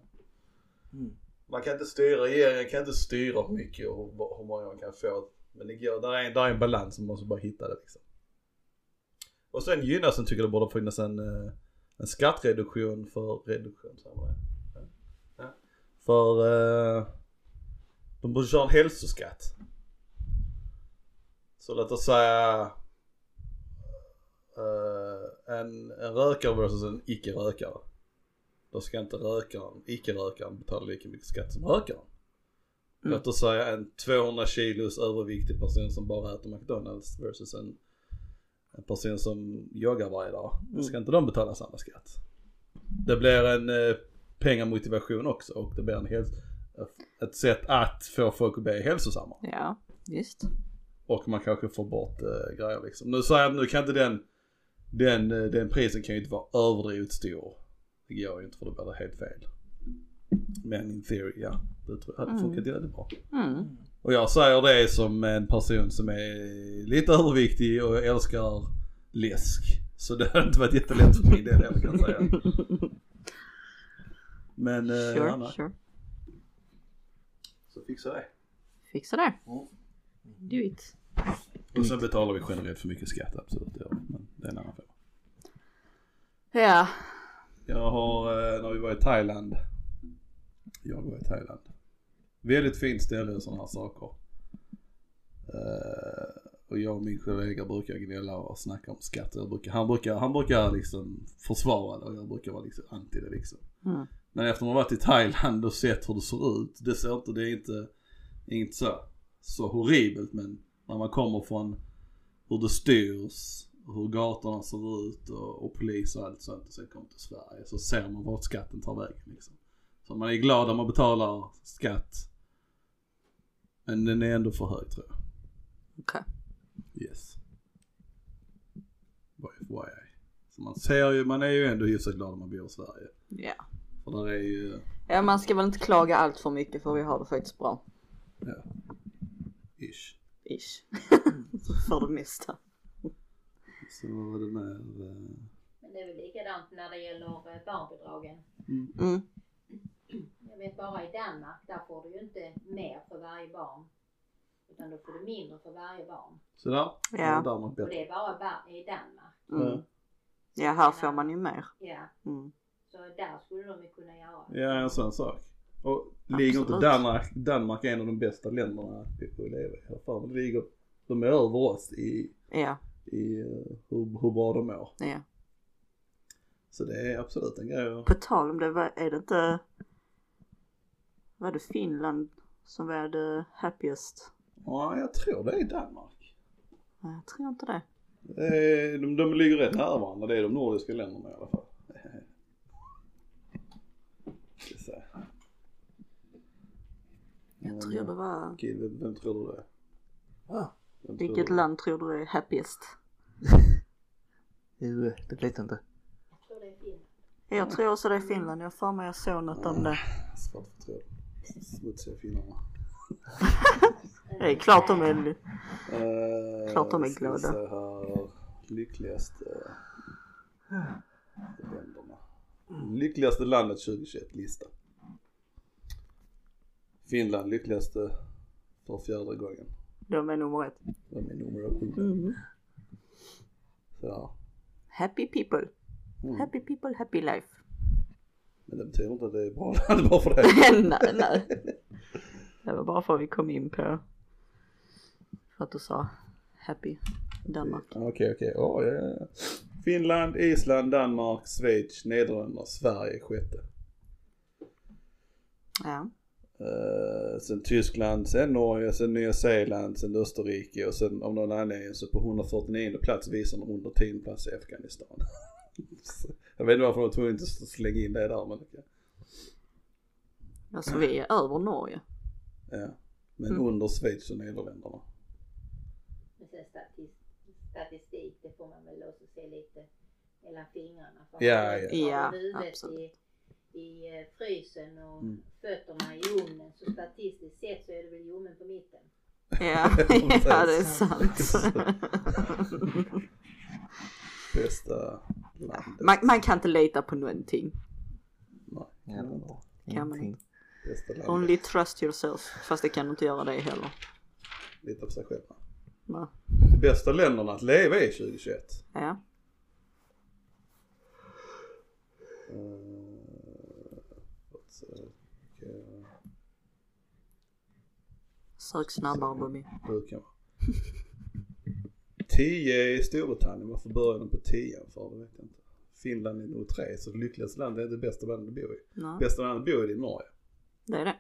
Speaker 3: Mm.
Speaker 2: Man kan inte styra, regeringen kan inte styra hur mycket och hur- hur många man kan få. Men det går, där är, en- där är en balans, man måste bara hitta det liksom. Och sen gynnas den tycker jag det borde finnas en, eh, en skattreduktion för reduktion, säger man det? Ja. Ja. För eh, de borde köra en hälsoskatt. Så låt oss säga eh, en, en rökare versus en icke-rökare. Då ska inte rökaren, icke-rökaren betala lika mycket skatt som rökaren.
Speaker 1: Mm.
Speaker 2: Låt oss säga en 200 kilos överviktig person som bara äter McDonalds versus en, en person som joggar varje dag. Ska inte de betala samma skatt? Det blir en eh, pengamotivation också och det blir en hel, ett sätt att få folk att bli hälsosamma.
Speaker 1: Ja, visst.
Speaker 2: Och man kanske får bort eh, grejer liksom. Nu säger jag, nu kan inte den, den, eh, den prisen kan ju inte vara överdrivet stor. Det går ju inte för då blir det helt fel. Men in theory, ja. Det tror jag hade
Speaker 1: Mm.
Speaker 2: funkat jävligt bra.
Speaker 1: Mm.
Speaker 2: Och jag säger det som en person som är lite överviktig och älskar läsk. Så det har inte varit jättelätt för min del heller kan jag säga. Men, eh, ja,
Speaker 1: Sure,
Speaker 2: nej.
Speaker 1: sure.
Speaker 2: Så fixar jag det.
Speaker 1: Fixa det.
Speaker 2: Mm.
Speaker 1: Do it.
Speaker 2: Och sen betalar vi generellt för mycket skatt, absolut. Ja. Men det är en annan fråga.
Speaker 1: Ja.
Speaker 2: Jag har, eh, när vi var i Thailand. Jag var i Thailand. Väldigt fint ställe och sådana här saker. Eh, och jag och min kollega brukar gnälla och snacka om skatter. Jag brukar, han, brukar, han brukar liksom försvara det och jag brukar vara liksom anti det liksom.
Speaker 1: Mm.
Speaker 2: Men efter man har varit i Thailand och sett hur det ser ut. Det ser inte, det är inte, inte så, så horribelt men när man kommer från hur det styrs hur gatorna ser ut och, och polis och allt sånt och sen kommer till Sverige så ser man vart skatten tar vägen liksom. Så man är glad när man betalar skatt. Men den är ändå för hög tror jag.
Speaker 1: Okej.
Speaker 2: Yes. YFYI. Så man ser ju, man är ju ändå hyfsat glad om man bor i Sverige.
Speaker 1: Ja.
Speaker 2: För där är ju,
Speaker 1: Ja man ska väl inte klaga allt för mycket för vi har det faktiskt bra.
Speaker 2: ja. Ish.
Speaker 1: Ish. för det mesta.
Speaker 2: Så vad var det med? eh,
Speaker 4: Men det är väl likadant när det gäller eh, barnbidragen.
Speaker 1: Mm.
Speaker 4: Jag vet bara i Danmark, där får du ju inte mer för varje barn. Utan då får du mindre för varje barn.
Speaker 2: Så där.
Speaker 1: Ja.
Speaker 2: Där man
Speaker 4: Och
Speaker 2: bättre.
Speaker 4: det är bara ba- i Danmark.
Speaker 1: Mm. Ja här får man ju mer.
Speaker 4: Ja,
Speaker 1: Mm.
Speaker 4: så där skulle de ju kunna göra.
Speaker 2: Ja, alltså. en sån sak. Och ligger inte
Speaker 1: Absolut.
Speaker 2: Danmark, Danmark är en av de bästa länderna att leva i. Jag har för mig det ligger, de är över oss i,
Speaker 1: Ja,
Speaker 2: i eh, hur, hur bra de mår.
Speaker 1: ja.
Speaker 2: Så det är absolut en grej att-
Speaker 1: På tal om det, vad- är det inte var det Finland som var det happiest?
Speaker 2: Ja, jag tror det är Danmark.
Speaker 1: Nej, jag tror inte det.
Speaker 2: Det är- De, de ligger rätt nära varandra, det är de nordiska länderna i alla fall. Ska se.
Speaker 1: Jag tror det var...
Speaker 2: Okej, vem, vem tror du det är?
Speaker 3: Ja.
Speaker 2: Vem tror
Speaker 1: Vilket
Speaker 2: du-
Speaker 1: land tror du är happiest?
Speaker 3: Jo, det vet jag inte.
Speaker 4: Jag tror det är Finland.
Speaker 1: Jag tror också det är Finland, jag har för mig jag såg något om det.
Speaker 2: Svårt att tro. Smutsiga finnarna.
Speaker 1: Det är klart de är...
Speaker 2: Eh,
Speaker 1: Klart de är
Speaker 2: ska vi
Speaker 1: glada.
Speaker 2: se Här. Lyckligaste eh, länderna. Lyckligaste landet 2021 lista. Finland lyckligaste för fjärde gången.
Speaker 1: De är nummer ett.
Speaker 2: De är nummer sju.
Speaker 1: Mm.
Speaker 2: Så, ja.
Speaker 1: Happy people.
Speaker 2: mm.
Speaker 1: Happy people, happy life.
Speaker 2: Men det betyder inte att det är bra land bara för det.
Speaker 1: nej, nej. Det var bara för att vi kom in på för att du sa happy Danmark.
Speaker 2: Ja, Okej, okej. Åh, ja, ja, ja. Finland, Island, Danmark, Schweiz, Nederländerna, Sverige sjätte.
Speaker 1: Ja.
Speaker 2: Eh, sen Tyskland, sen Norge, sen Nya Zeeland, sen Österrike och sen om någon anledning så på 149 plats visar de 110 plats i Afghanistan. Så, jag vet inte varför de var tvungna att inte slänga in det där men okej.
Speaker 1: Alltså vi är över Norge.
Speaker 2: ja. Men
Speaker 1: Mm.
Speaker 2: under Schweiz och Nederländerna.
Speaker 4: Men sen statis- statistik, det får man väl också se lite mellan fingrarna. För
Speaker 2: Ja,
Speaker 4: har du-
Speaker 1: ja.
Speaker 4: har du
Speaker 1: Ja,
Speaker 4: huvudet i,
Speaker 1: absolut.
Speaker 4: i eh, frysen och
Speaker 2: Mm.
Speaker 4: fötterna i ugnen så statistiskt sett så är det väl ljummen på mitten.
Speaker 1: Ja, ja det är sant.
Speaker 2: Bästa landet.
Speaker 1: Man, man kan inte lita på någonting.
Speaker 2: Nej,
Speaker 3: Ja, det var
Speaker 1: ingenting.
Speaker 2: bästa landet.
Speaker 1: Only trust yourself. Fast det kan du inte göra det heller.
Speaker 2: Lita på sig själva.
Speaker 1: Va?
Speaker 2: De bästa länderna att leva i 2021.
Speaker 1: Ja.
Speaker 2: Eh, låt se. Okej.
Speaker 1: Sök snabbare Bobby.
Speaker 2: brukar vara. 10 i Storbritannien, varför börjar de på 10 för? Det vet jag inte. Finland är nog 3, så lyckligaste landet är det bästa landet att bo i.
Speaker 1: Nej,
Speaker 2: Bästa landet att bo i är Norge.
Speaker 1: det är det.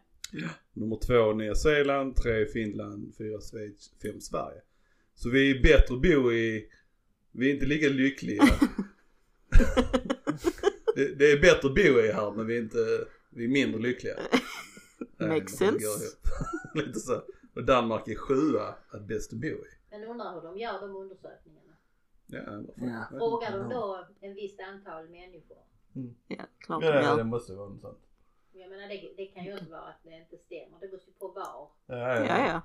Speaker 2: Nummer 2 Nya Zeeland, 3 Finland, 4 Schweiz, 5 Sverige. Så vi är bättre att bo i, vi är inte lika lyckliga. det, det är bättre att bo i här men vi är inte, vi är mindre lyckliga. Nej,
Speaker 1: Makes
Speaker 2: det går
Speaker 1: sense.
Speaker 2: ihop. Lite så. Och Danmark är sjua att bäst att bo i.
Speaker 4: Men undrar hur de gör de undersökningarna.
Speaker 2: Ja, varför?
Speaker 3: Ja.
Speaker 4: Frågar de då en visst antal människor?
Speaker 1: Ja, klart de
Speaker 2: Ja, ja, det
Speaker 1: gör.
Speaker 2: måste vara något sånt.
Speaker 4: Jag menar det, det kan ju också vara att det inte stämmer. Det beror ju på var.
Speaker 2: Ja, ja.
Speaker 1: Ja, ja.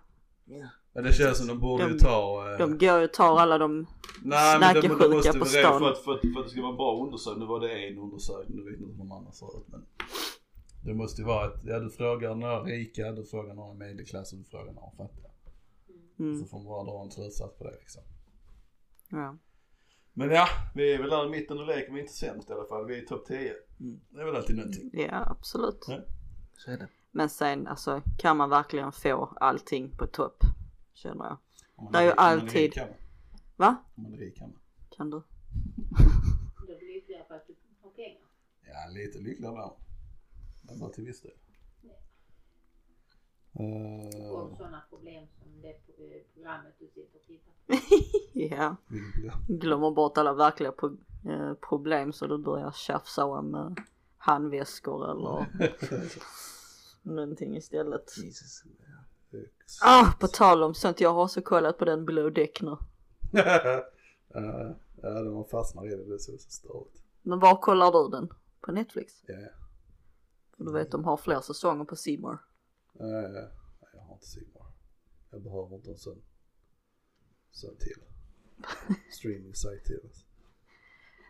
Speaker 3: Ja.
Speaker 2: Men det känns som de borde ju
Speaker 1: De-
Speaker 2: ta... eh,
Speaker 1: De går ju och tar alla de...
Speaker 2: nej, men de,
Speaker 1: snackesjuka
Speaker 2: de måste
Speaker 1: på
Speaker 2: vara redo för
Speaker 1: stan.
Speaker 2: att, för, att, för att det ska vara en bra undersökning. Nu var det en undersökning, du vet inte hur de andra ser ut. Men det måste ju vara att, ja du frågar några rika, du frågar några i medelklass och du frågar några fattiga. Så
Speaker 1: Mm.
Speaker 2: får man bara dra en slutsats på det liksom.
Speaker 1: Ja.
Speaker 2: Men ja, vi är väl där i mitten och leker, vi är inte sämst i alla fall. Vi är i topp 10.
Speaker 3: Mm.
Speaker 2: Det är väl alltid någonting.
Speaker 1: ja, absolut.
Speaker 3: Så är det.
Speaker 1: Men sen alltså kan man verkligen få allting på topp. Känner jag.
Speaker 2: Om man
Speaker 1: Det är ju
Speaker 2: om man
Speaker 1: alltid-
Speaker 2: rik kan man.
Speaker 1: Va?
Speaker 2: Om man är rik kan man.
Speaker 1: Kan du?
Speaker 4: Då blir det lyckligare för att du har pengar.
Speaker 2: Ja, lite lyckligare var han. Men bara till viss del. Eh,
Speaker 4: Om sådana problem som det eh, programmet du sitter och tittar på.
Speaker 1: Ja,
Speaker 2: vill jag.
Speaker 1: glömmer bort alla verkliga pro- eh, problem så du börjar tjafsa om eh, handväskor eller någonting istället.
Speaker 3: Jesus.
Speaker 1: Ah, på tal om sånt, jag har också kollat på den Blue Dick nu.
Speaker 2: Eh, Ja, när man fastnar i det, det är så så störigt.
Speaker 1: Men var kollar du den? På Netflix?
Speaker 2: Ja, ja.
Speaker 1: För du vet de har fler säsonger på C More.
Speaker 2: Eh, nej, jag har inte Sigmar. Jag behöver inte en sån. Sån till. Streaming-sajt till. Alltså.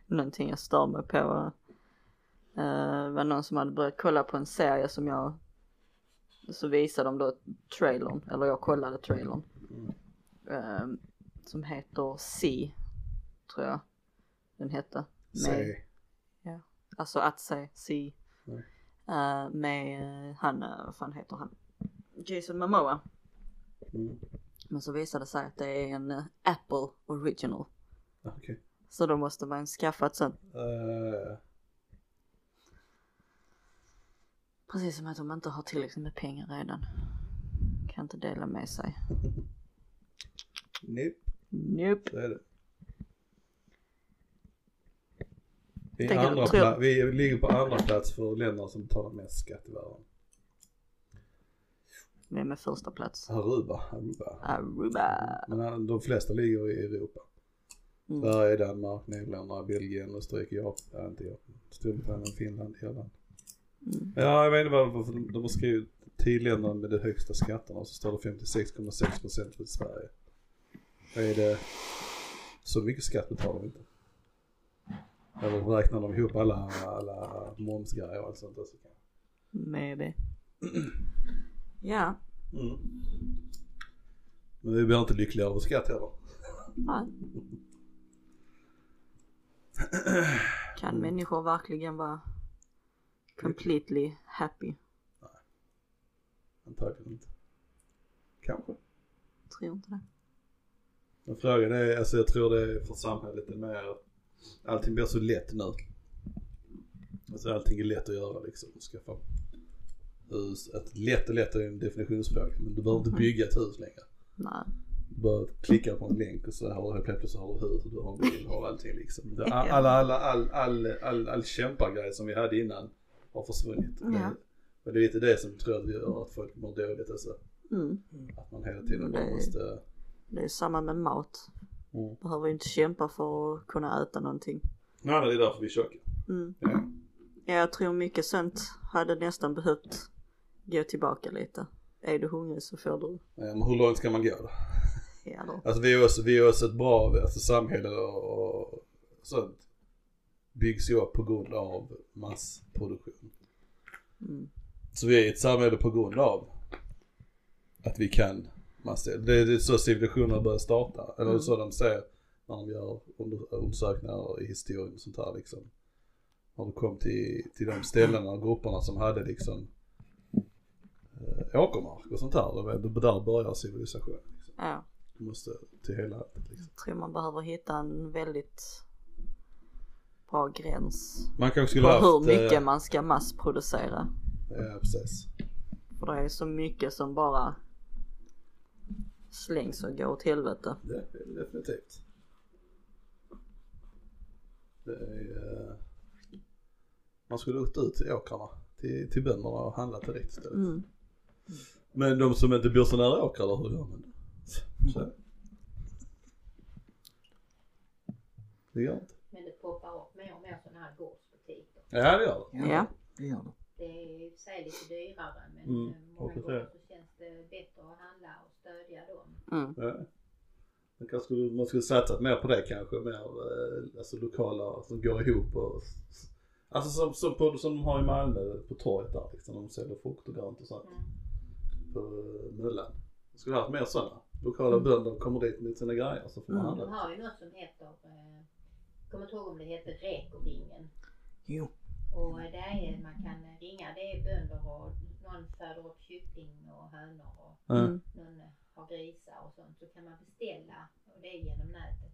Speaker 1: Någonting jag stör mig på eh, var någon som hade börjat kolla på en serie som jag så visade de då trailern, eller jag kollade trailern. Eh, som heter C, tror jag den hette. Med,
Speaker 2: Se.
Speaker 1: alltså att se, C.
Speaker 2: Mm.
Speaker 1: Eh, med eh, han, eh, vad fan heter han? Jason Momoa.
Speaker 2: Mm.
Speaker 1: Men så visade det sig att det är en eh, Apple original.
Speaker 2: Okej.
Speaker 1: Så då måste man skaffa ett sånt.
Speaker 2: Eh,
Speaker 1: Precis som att de inte har tillräckligt med pengar redan. Kan inte dela med sig.
Speaker 2: nej,
Speaker 1: Nope.
Speaker 2: så är det. Vi, är
Speaker 1: Tänker-
Speaker 2: andra
Speaker 1: tror jag-
Speaker 2: pla- vi ligger på andra plats för länder som betalar mest skatt i världen.
Speaker 1: Vem är första plats?
Speaker 2: Aruba, Aruba.
Speaker 1: Aruba.
Speaker 2: Men eh, de flesta ligger i Europa.
Speaker 1: Mm.
Speaker 2: Sverige, Danmark, Nederländerna, Belgien, Österrike, Japan, ja, inte Japan, Storbritannien, Finland, Irland.
Speaker 1: Mm.
Speaker 2: Ja, jag vet inte varför de har skrivit tilländerna med de högsta skatterna och så står det 56,6% för Sverige. Då är det så mycket skatt betalar vi inte. Eller räknar de ihop alla, alla momsgrejer och allt sånt där så kan
Speaker 1: Maybe. ja.
Speaker 2: mm. Men vi blir inte lyckliga över skatt heller.
Speaker 1: Nej. Kan människor verkligen vara completely happy?
Speaker 2: Antagligen inte. Kanske.
Speaker 1: Tror inte det.
Speaker 2: Men frågan är, alltså jag tror det är för samhället är mer, allting blir så lätt nu. Alltså allting är lätt att göra liksom. Du Skaffa hus. Att lätt och lätt är en definitionsfråga. Men du behöver inte bygga ett hus längre.
Speaker 1: Nej.
Speaker 2: Du bara klickar på en länk och så har du helt plötsligt så har du hus och du har en bil och har allting liksom. Det- All, all, all, all, all, all, all kämpargrej som vi hade innan har försvunnit.
Speaker 1: Ja.
Speaker 2: Och det är lite det som tror jag gör att folk mår dåligt alltså.
Speaker 1: Mm.
Speaker 2: Att man hela tiden
Speaker 1: Det-
Speaker 2: bara måste...
Speaker 1: Det är samma med mat.
Speaker 2: Mm.
Speaker 1: Behöver ju inte kämpa för att kunna äta någonting.
Speaker 2: Nej men det är därför vi är tjocka.
Speaker 1: Mm.
Speaker 2: Ja.
Speaker 1: Ja, jag tror mycket sånt hade nästan behövt gå tillbaka lite. Är du hungrig så får du
Speaker 2: Eh, Men hur långt ska man gå då?
Speaker 1: ja, då.
Speaker 2: Alltså vi är också, vi är också ett bra alltså, samhälle och, och sånt byggs ju upp på grund av massproduktion.
Speaker 1: Mm.
Speaker 2: Så vi är ett samhälle på grund av att vi kan massa. Det, det är så civilisationer börjar starta. Eller
Speaker 1: Mm.
Speaker 2: så de säger när de gör under, undersökningar i historien och sånt här liksom. När det kom till, till de ställena och grupperna som hade liksom eh, åkermark och sånt där. Då, då- där börjar civilisationen. Liksom.
Speaker 1: Ja,
Speaker 2: Du måste till hela liksom.
Speaker 1: jag tror man behöver hitta en väldigt bra gräns
Speaker 2: Man kanske
Speaker 1: på
Speaker 2: skulle haft...
Speaker 1: hur mycket
Speaker 2: eh,
Speaker 1: man ska massproducera.
Speaker 2: Ja, precis.
Speaker 1: För det är så mycket som bara slängs och går åt helvete.
Speaker 2: Det är definitivt. Det är... eh, Man skulle åkt ut till åkrarna, till, till bönderna och handlat direkt istället.
Speaker 1: Mm.
Speaker 2: Men de som inte bor så nära åkrar då, hur gör man det? Så. Det gör inte.
Speaker 4: Men det poppar upp mer och mer sådana här gårdsbutiker.
Speaker 2: Ja, det gör det.
Speaker 1: Ja.
Speaker 3: Det gör det.
Speaker 4: Det är i och för sig lite dyrare men
Speaker 2: Mm,
Speaker 4: eh, många
Speaker 2: hoppas det.
Speaker 4: gånger så känns det bättre att handla och stödja dem.
Speaker 1: Mm.
Speaker 2: Ja. Man, kanske skulle, man skulle satsat mer på det kanske, mer eh, alltså, lokala som går ihop och Alltså som, som, på, som de har i Malmö på torget där liksom, de säljer frukt och grönt och sånt
Speaker 4: Mm.
Speaker 2: på eh, Möllan. Jag skulle haft mer sådana. Lokala bönder kommer dit med sina grejer så får man
Speaker 1: Mm.
Speaker 4: De
Speaker 2: handla.
Speaker 4: har ju något som heter, eh, jag kommer inte ihåg om det heter Rekoringen.
Speaker 3: Jo.
Speaker 4: Och
Speaker 2: Mm.
Speaker 4: det är, man kan ringa, det är bönder och någon föder upp kyckling och hönor och
Speaker 1: Mm.
Speaker 4: någon har grisar och sånt. Så kan man beställa och det är genom nätet.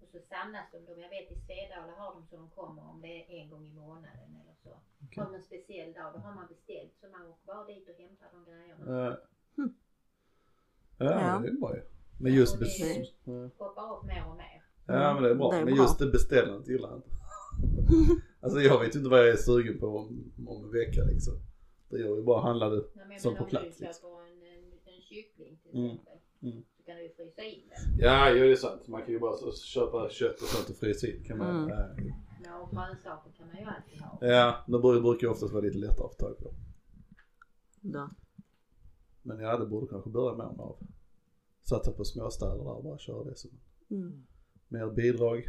Speaker 4: Och så samlas de, de jag vet i Svedala har de så de kommer om det är en gång i månaden eller så. Har de en speciell dag, då har man beställt så man åker bara dit och hämtar de grejerna.
Speaker 2: Eh,
Speaker 1: Mm. Ja.
Speaker 2: Ja, det är bra ju. Men just
Speaker 4: Det är
Speaker 2: bes- ja.
Speaker 4: Poppar upp mer och mer.
Speaker 2: ja men det är bra.
Speaker 1: Det är
Speaker 2: men
Speaker 1: bra.
Speaker 2: just det beställandet gillar jag inte. alltså jag vet inte vad jag är sugen på om, om en vecka liksom. Det gör ju bara handlade.
Speaker 4: Nej, men jag
Speaker 2: Som
Speaker 4: menar,
Speaker 2: på plats,
Speaker 4: Om du
Speaker 2: liksom.
Speaker 4: köper en, en, en kyckling till
Speaker 2: Mm.
Speaker 4: exempel.
Speaker 2: Mm.
Speaker 4: Så kan du ju frysa in den.
Speaker 2: Ja, jo det är sant. Man kan ju bara så, köpa kött och sånt och frysa in. Kan man,
Speaker 1: Mm.
Speaker 2: eh,
Speaker 4: Ja, och grönsaker kan man ju alltid ha.
Speaker 2: Ja, det brukar brukar ju oftast vara lite lättare att få tag på.
Speaker 1: Då.
Speaker 2: Men ja, det borde kanske börja med av. Satsa på småstäder där och bara köra det som
Speaker 1: Mm.
Speaker 2: mer bidrag.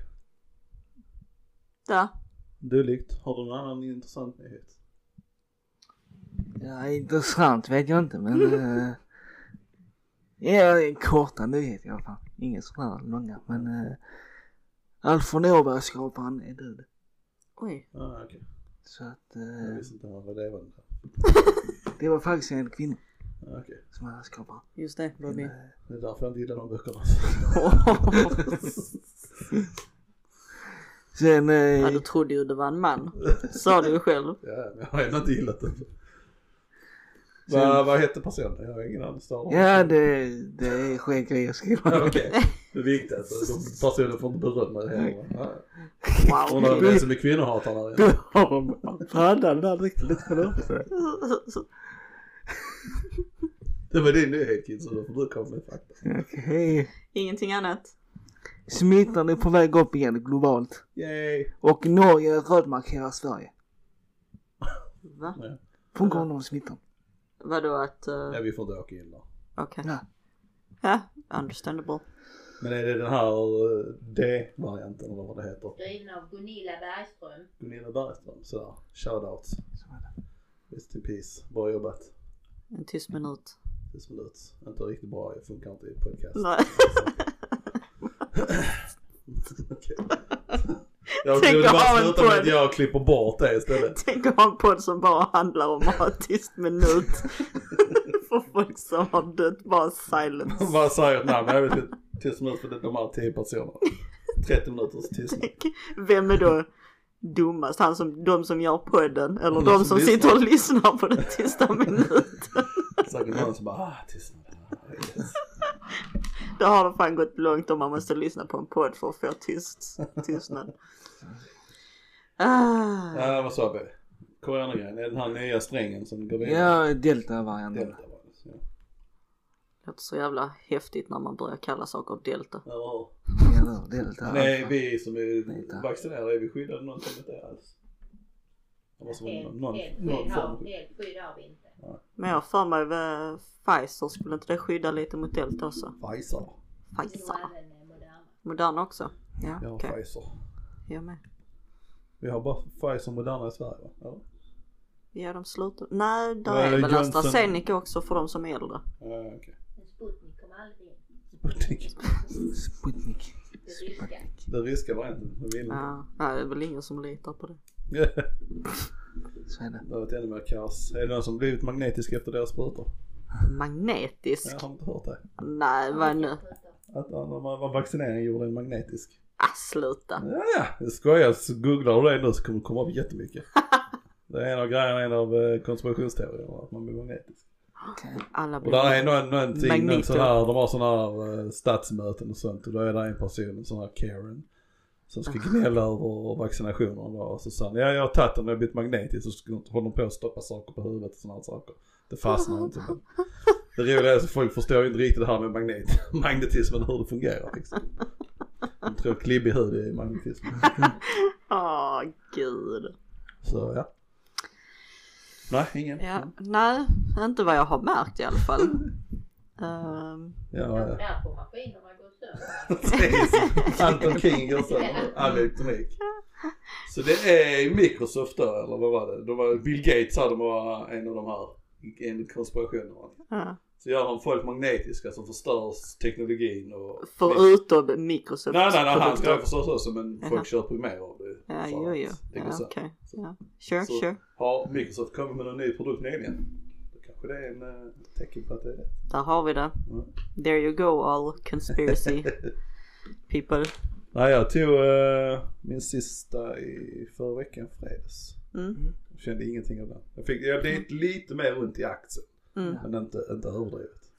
Speaker 1: Då.
Speaker 2: Dylikt. Har du någon annan intressant nyhet?
Speaker 3: Ja, intressant vet jag inte men... eh, ja, korta nyheter i alla fall. Inga sådana långa men... Uh, Alfred Åberg-skaparen är död.
Speaker 1: Oj.
Speaker 2: Ja, ah, okej.
Speaker 3: Så att...
Speaker 2: Jag
Speaker 3: eh,
Speaker 2: visste inte han var levande.
Speaker 3: det var faktiskt en kvinna
Speaker 2: Ja, Okej.
Speaker 3: som var skaparen.
Speaker 1: Just det, var
Speaker 3: Men,
Speaker 1: det.
Speaker 3: eh,
Speaker 2: Det är därför jag inte gillar de böckerna.
Speaker 3: Sen... eh,
Speaker 1: Ja, du trodde ju det var en man. Sa du ju själv.
Speaker 2: Ja, men jag har ändå inte gillat det.
Speaker 3: Sen-
Speaker 2: Vad vad hette personen? Jag har ingen aning. Star-
Speaker 3: ja det, det är skägg grejer
Speaker 2: Ja,
Speaker 3: skriver
Speaker 2: Okej, det är viktigt. alltså. De personen får inte berömma det heller. Ja.
Speaker 1: Wow.
Speaker 2: Undrar vem det är som är kvinnohatare.
Speaker 3: Du har paddan där riktigt
Speaker 2: Det var din nyhet Kid, så då får du komma med fakta.
Speaker 3: Okej.
Speaker 1: Ingenting annat.
Speaker 3: Smittan är på väg upp igen globalt.
Speaker 2: Yay!
Speaker 3: Och Norge rödmarkerar Sverige.
Speaker 1: Va?
Speaker 3: På grund av smittan.
Speaker 1: Vadå att... eh,
Speaker 2: Nej vi får inte åka in där.
Speaker 1: Okej.
Speaker 3: Ja.
Speaker 1: Ja, understandable.
Speaker 2: Men är det den här eh, D-varianten eller vad det heter?
Speaker 4: Drivna av Gunilla Bergström.
Speaker 2: Gunilla Bergström, sådär. Shoutouts.
Speaker 3: Så är det.
Speaker 2: Rest in peace. Bra jobbat.
Speaker 1: En tyst minut.
Speaker 2: Tills minut. Inte riktigt bra, det funkar inte i podcast.
Speaker 1: Nej.
Speaker 2: Okej. Jag
Speaker 1: Tänk
Speaker 2: vill
Speaker 1: att ha
Speaker 2: bara
Speaker 1: en
Speaker 2: sluta med att
Speaker 1: podd.
Speaker 2: jag klipper bort det istället.
Speaker 1: Tänk att ha en podd som bara handlar om att ha en tyst minut. För folk som har dött, bara silence.
Speaker 2: Vad säger ett namn? Jag vet inte. Tills minut för de här 10 personerna. 30 minuters tystnad.
Speaker 1: Vem är då dummast? Han som, de som gör podden eller
Speaker 2: Mm,
Speaker 1: de
Speaker 2: som
Speaker 1: som
Speaker 2: lyssnar.
Speaker 1: sitter och lyssnar på den tysta minuten?
Speaker 2: Säkert någon som bara ah tystnad.
Speaker 1: Då har det fan gått långt om man måste lyssna på en podd för att få tyst, tystnad. Ah,
Speaker 2: Ja, vad sa vi? Coronagrejen, är det den här nya strängen som går vidare?
Speaker 3: Ja, delta-varianten.
Speaker 2: Delta var det, så.
Speaker 1: det låter så jävla häftigt när man börjar kalla saker delta.
Speaker 2: Eller hur?
Speaker 3: Ja, delta.
Speaker 2: Men är vi som
Speaker 3: Nej, tack.
Speaker 2: är vaccinerade, är vi skyddade någonting mot det alls? Det måste vara
Speaker 4: Helt
Speaker 2: någon,
Speaker 4: helt
Speaker 2: någon,
Speaker 4: skydd
Speaker 2: någon
Speaker 4: har-
Speaker 2: form.
Speaker 4: helt skydd har vi inte.
Speaker 1: Men jag har för mig eh, Pfizer, skulle inte det skydda lite mot delta också?
Speaker 2: Pfizer.
Speaker 4: Jo,
Speaker 1: Pfizer.
Speaker 4: även eh, Moderna.
Speaker 1: Moderna också? Ja,
Speaker 2: Vi har
Speaker 1: okej.
Speaker 2: Pfizer.
Speaker 1: Jag med.
Speaker 2: Vi har bara Pfizer och Moderna i Sverige va? Ja.
Speaker 1: Ja, de slutar. Nej, där
Speaker 2: Vad är
Speaker 1: är väl
Speaker 2: Johnson?
Speaker 1: AstraZeneca också för de som är äldre.
Speaker 2: Ja, okej.
Speaker 4: Men Sputnik kom aldrig in.
Speaker 2: Sputnik.
Speaker 3: Sputnik.
Speaker 4: Det ryska.
Speaker 2: Den ryska varianten, den vill inte.
Speaker 1: Ja, nej, det är väl ingen som litar på det.
Speaker 3: Så är det.
Speaker 2: Det har varit ännu mer kaos. Är det någon som blivit magnetisk efter deras sprutor?
Speaker 1: Magnetisk?
Speaker 2: Jag har inte hört det.
Speaker 1: Nej, vad nu?
Speaker 2: Att när man var vaccinerad gjorde en magnetisk.
Speaker 1: Ah, sluta.
Speaker 2: Ja, ja. Jag skojar. Så Googlar du det nu så kommer det komma upp jättemycket. Det är en av grejerna, en av eh, konspirationsteorierna, att man blir magnetisk.
Speaker 3: Okej.
Speaker 1: Alla
Speaker 2: Och
Speaker 1: blir...
Speaker 2: där är någon, någonting, någon
Speaker 1: Magneto.
Speaker 2: sån här, de har sån här eh, statsmöten och sånt och då är det en person, en sån här Karen, som ska gnälla över vaccinationerna då. och så sa han, ja jag har tagit den och jag har blivit magnetisk och så håller de på att stoppa saker på huvudet och sådana saker. Det fastnar inte. Men det roliga är att folk förstår ju inte riktigt det här med magnet, magnetismen, hur det fungerar liksom. De tror att klibbig hud är magnetism.
Speaker 1: Åh, gud.
Speaker 2: Så ja. Nej, ingen.
Speaker 1: Ja, nej, inte vad jag har märkt i alla fall. Ehm,
Speaker 2: Ja,
Speaker 4: Kanske
Speaker 2: ja.
Speaker 4: därför maskinerna går sönder.
Speaker 2: Precis. Anton King går sönder all elektronik. Så det är Microsoft då, eller vad var det? Då var Bill Gates hade var en av de här, en konspiration.
Speaker 1: ja.
Speaker 2: Så gör de folk magnetiska som förstör teknologin och...
Speaker 1: Förutom Microsoft.
Speaker 2: Nej, nej, nej, han ska det förstås också men
Speaker 1: Jaha.
Speaker 2: folk köper ju mer av det.
Speaker 1: Ja,
Speaker 2: Så
Speaker 1: jo, jo.
Speaker 2: det går
Speaker 1: Ja,
Speaker 2: sönder.
Speaker 1: okej. Ja. Sure,
Speaker 2: Så-
Speaker 1: sure.
Speaker 2: Har Microsoft kommit med någon ny produkt nyligen? Då kanske det är en eh, tecken på att det är rätt.
Speaker 1: Där har vi det.
Speaker 2: Mm.
Speaker 1: There you go all conspiracy people.
Speaker 2: Nej jag tog eh, min sista i förra veckan fredags.
Speaker 1: Mm.
Speaker 2: Jag kände ingenting av den. Jag, fick, jag blev lite mer ont i axeln.
Speaker 1: Mm.
Speaker 2: Men inte, inte överdrivet.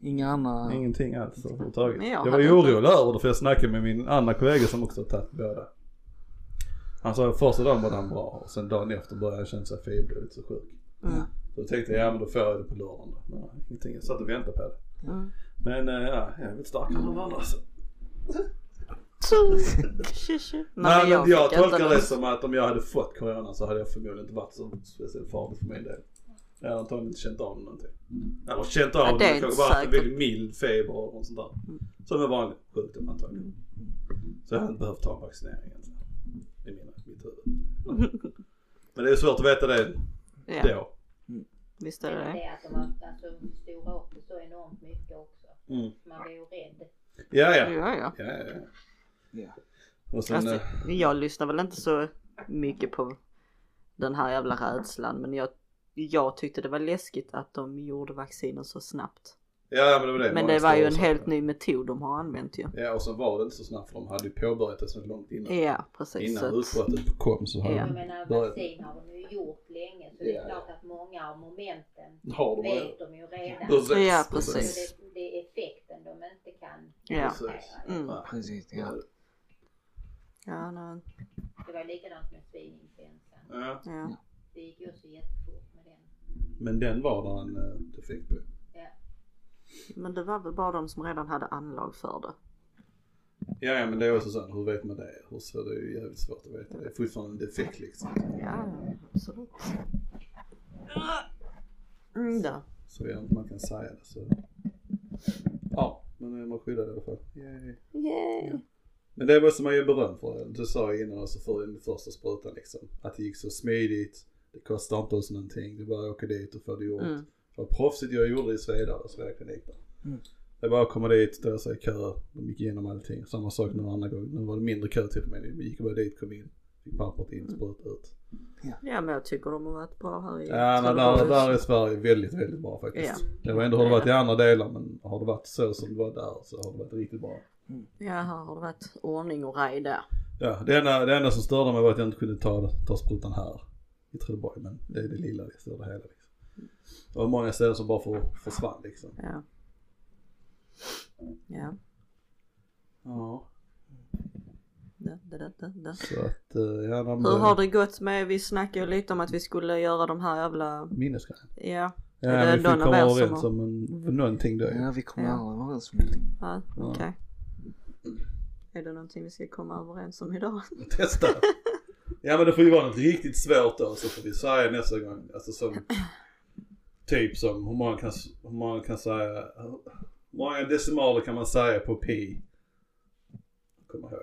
Speaker 3: Inga andra.
Speaker 2: Ingenting alls överhuvudtaget.
Speaker 1: Men jag
Speaker 2: Jag var ju
Speaker 1: hade inte-
Speaker 2: orolig över det för jag snackade med min andra kollega som också har tagit båda. Han sa att första dagen var den bra och sen dagen efter började han känna sig feberblidig så sjuk.
Speaker 1: Mm.
Speaker 2: Så jag tänkte ja men då får jag det på lördagen då. Men nej, ingenting. Jag satt och väntade på det.
Speaker 1: Mm.
Speaker 2: Men eh, ja, jag är väl starkare än de andra så.
Speaker 1: Så. Tjusju.
Speaker 2: Nej men jag,
Speaker 1: fick inte
Speaker 2: tolkar
Speaker 1: någon-
Speaker 2: det som att om jag hade fått corona så hade jag förmodligen inte varit så speciellt farlig för min del. Jag hade antagligen inte känt av någonting. Eller känt av
Speaker 1: Ja,
Speaker 2: det,
Speaker 1: det är
Speaker 2: men kanske
Speaker 1: inte
Speaker 2: bara haft en
Speaker 1: säkert.
Speaker 2: väldigt mild feber och sånt där. Som en vanlig sjukdom antagligen. Så jag hade inte behövt ta en vaccinering egentligen. I mina, mitt huvud. Men det är svårt att veta det
Speaker 1: Ja,
Speaker 2: då.
Speaker 1: visst är
Speaker 4: Det
Speaker 1: det det.
Speaker 4: är det att de har alltså, stora upp det så enormt mycket också.
Speaker 2: Mm.
Speaker 4: Man blir ju rädd.
Speaker 2: Ja, ja. ja,
Speaker 1: Ja, ja.
Speaker 2: ja, ja.
Speaker 3: Ja.
Speaker 2: Och sen,
Speaker 1: Alltså,
Speaker 2: eh,
Speaker 1: jag lyssnar väl inte så mycket på den här jävla rädslan men jag, jag tyckte det var läskigt att de gjorde vaccinen så snabbt.
Speaker 2: ja, men det var det.
Speaker 1: Men
Speaker 2: Många
Speaker 1: det var ju en
Speaker 2: stora
Speaker 1: helt
Speaker 2: saker.
Speaker 1: ny metod de har använt ju.
Speaker 2: Ja, och så var det inte så snabbt för de hade ju påbörjat det så långt innan.
Speaker 1: Ja precis.
Speaker 2: Innan
Speaker 1: Så att,
Speaker 2: utbrottet kom så har
Speaker 1: Ja.
Speaker 4: Jag
Speaker 2: de
Speaker 4: menar
Speaker 2: Då är-
Speaker 4: vaccin har de ju gjort länge så det
Speaker 2: Ja,
Speaker 4: är
Speaker 2: ja.
Speaker 4: klart att många av momenten
Speaker 2: har de redan.
Speaker 4: vet de ju redan. Så
Speaker 2: Precis,
Speaker 1: Ja, precis.
Speaker 4: det, det är effekten de inte kan
Speaker 1: ja.
Speaker 2: Precis.
Speaker 1: Mm.
Speaker 3: Precis, ja.
Speaker 1: Ja, nej,
Speaker 4: Det var likadant med svininfluensan.
Speaker 2: Ja.
Speaker 1: ja.
Speaker 4: Det gick ju också jättefort med den.
Speaker 2: Men den var där en eh, defekt på.
Speaker 4: Ja.
Speaker 1: Men det var väl bara de som redan hade anlag för det.
Speaker 2: Ja, ja men det är också så här, hur vet man det? Hur så det är ju jävligt svårt att veta. Det är fortfarande en defekt liksom.
Speaker 1: Ja, absolut. Mm, då.
Speaker 2: Så jag inte man kan säga det så. Ja, men eh, man skyddar det i alla fall. Yay.
Speaker 1: Yay!
Speaker 2: Men det måste man ju beröm för. Du sa ju innan alltså för den första sprutan liksom. Att det gick så smidigt. Det kostar inte oss någonting. Du bara åker dit och får det gjort.
Speaker 1: Mm.
Speaker 2: Det var proffsigt jag gjorde i alltså, Svedala, Svedaklinikten.
Speaker 3: Mm.
Speaker 2: Det var att komma dit, ställa sig i kö, de gick igenom allting. Samma sak någon annan gång. Nu var det mindre kö till och med. Vi gick bara dit, kom in, fick pappret in, sprut ut.
Speaker 1: Ja men jag tycker de har varit bra här i
Speaker 2: Ja, nej, där,
Speaker 1: Trelleborg.
Speaker 2: där är Sverige väldigt, väldigt bra faktiskt. Jag vet inte hur det varit i andra delar men har det varit så som det var där så har det varit riktigt bra.
Speaker 1: Ja här har det varit ordning och reda.
Speaker 2: Ja, det enda, det enda som störde mig var att jag inte kunde ta, ta sprutan här i Trelleborg men det är det lilla, det stora hela liksom. Det var många ställen som bara för, försvann liksom.
Speaker 1: Ja. Ja.
Speaker 2: Ja.
Speaker 1: Da, da, da, da, da.
Speaker 2: Så att, eh, ja, de,
Speaker 1: Hur har det gått med, vi snackade ju lite om att vi skulle göra de här jävla,
Speaker 2: Minnesgrejen.
Speaker 1: ja.
Speaker 2: Ja,
Speaker 1: Är det
Speaker 2: men
Speaker 1: någon av
Speaker 2: vi fick komma
Speaker 1: er som
Speaker 2: överens
Speaker 1: har-
Speaker 2: om en, om någonting då ju.
Speaker 3: Ja, vi kommer
Speaker 1: Ja.
Speaker 3: aldrig överens om någonting.
Speaker 1: Ja, okej. Är det någonting vi ska komma överens om idag?
Speaker 2: Testa. Ja men det får ju vara något riktigt svårt då så får vi säga nästa gång. Alltså som typ som hur många kan, hur många kan säga, hur många decimaler kan man säga på pi? Kommer ihåg.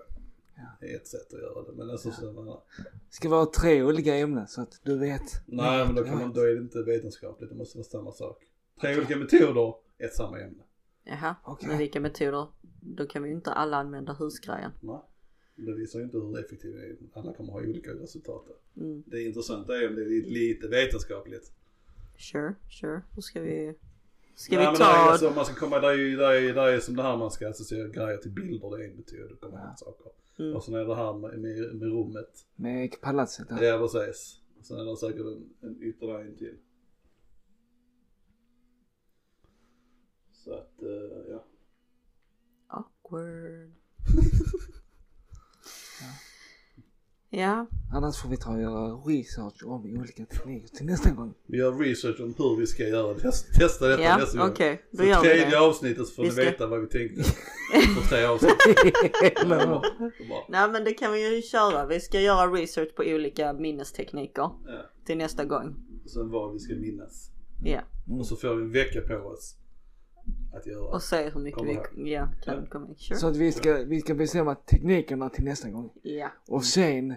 Speaker 2: Det är ett sätt att göra det men alltså så,
Speaker 3: Det ska vara tre olika ämnen så att du vet.
Speaker 2: nej men då kan man, då är det inte vetenskapligt, det måste vara samma sak. Tre olika metoder, ett samma ämne.
Speaker 1: Jaha,
Speaker 3: Okej.
Speaker 1: men vilka metoder? Då kan vi ju inte alla använda husgrejen.
Speaker 2: Nej. Det visar ju inte hur effektiv det är. Alla kommer ha olika resultat. där.
Speaker 1: Mm.
Speaker 2: Det intressanta är om det är lite vetenskapligt.
Speaker 1: Sure, sure. Då ska vi, ska
Speaker 2: Nej,
Speaker 1: vi
Speaker 2: men det är
Speaker 1: ta,
Speaker 2: alltså, om man ska komma, där är ju, där är, där är som det här man ska associera grejer till bilder, det är en metod att komma ihåg saker.
Speaker 1: Mm.
Speaker 2: Och sen är det här med, med, med rummet.
Speaker 3: Med palatset där.
Speaker 2: Ja precis. Och sen är det säkert en, en ytterligare en till. Så att, eh, ja.
Speaker 1: awkward. ja,
Speaker 3: Annars får vi ta och göra research om olika tekniker till nästa gång.
Speaker 2: Vi gör research om hur vi ska göra test, testa detta
Speaker 1: ja,
Speaker 2: nästa
Speaker 1: okej.
Speaker 2: gång.
Speaker 1: Då
Speaker 2: Så
Speaker 1: gör vi
Speaker 2: tredje
Speaker 1: det.
Speaker 2: avsnittet så får
Speaker 1: Vi
Speaker 2: ni
Speaker 1: ska-
Speaker 2: veta vad vi tänkte. På tre avsnitt.
Speaker 3: Eller-
Speaker 2: Bra.
Speaker 1: Nej men det kan vi ju köra. Vi ska göra research på olika minnestekniker
Speaker 2: Ja.
Speaker 1: till nästa gång.
Speaker 2: Och sen vad vi ska minnas.
Speaker 1: Ja,
Speaker 2: Och så får vi en vecka på oss att göra.
Speaker 1: och se hur mycket
Speaker 2: Kom
Speaker 1: vi
Speaker 2: här.
Speaker 1: ja, kan komma ihåg. Sure.
Speaker 3: Så att vi ska, vi ska bestämma teknikerna till nästa gång.
Speaker 1: Ja,
Speaker 3: Och sen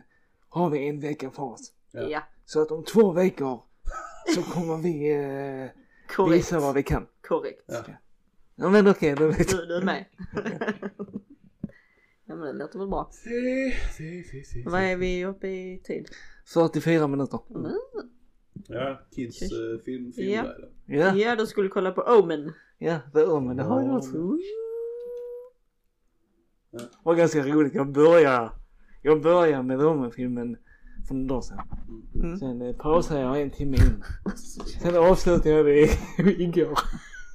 Speaker 3: har vi en vecka på oss.
Speaker 2: Ja.
Speaker 1: ja.
Speaker 3: Så att om två veckor så kommer vi eh,
Speaker 1: Korrekt.
Speaker 3: visa vad vi kan.
Speaker 1: Korrekt.
Speaker 2: Ja.
Speaker 3: Ja men okej, då vet
Speaker 1: Du, du är med. ja men det låter väl bra.
Speaker 2: Si, si, si, si.
Speaker 1: Vad är vi uppe i tid?
Speaker 3: 44 minuter.
Speaker 1: Mm.
Speaker 2: Ja, kids eh, film, film
Speaker 1: Ja.
Speaker 2: där är det.
Speaker 3: Ja,
Speaker 1: Ja du skulle kolla på Omen.
Speaker 3: ja, det är men det har jag gjort.
Speaker 1: Ooh.
Speaker 3: var ganska roligt. Jag börjar, jag börjar med Roman-filmen för några dagar sedan.
Speaker 1: Mm.
Speaker 3: Sen eh, pausade jag en timme in. Sen avslutade jag det igår.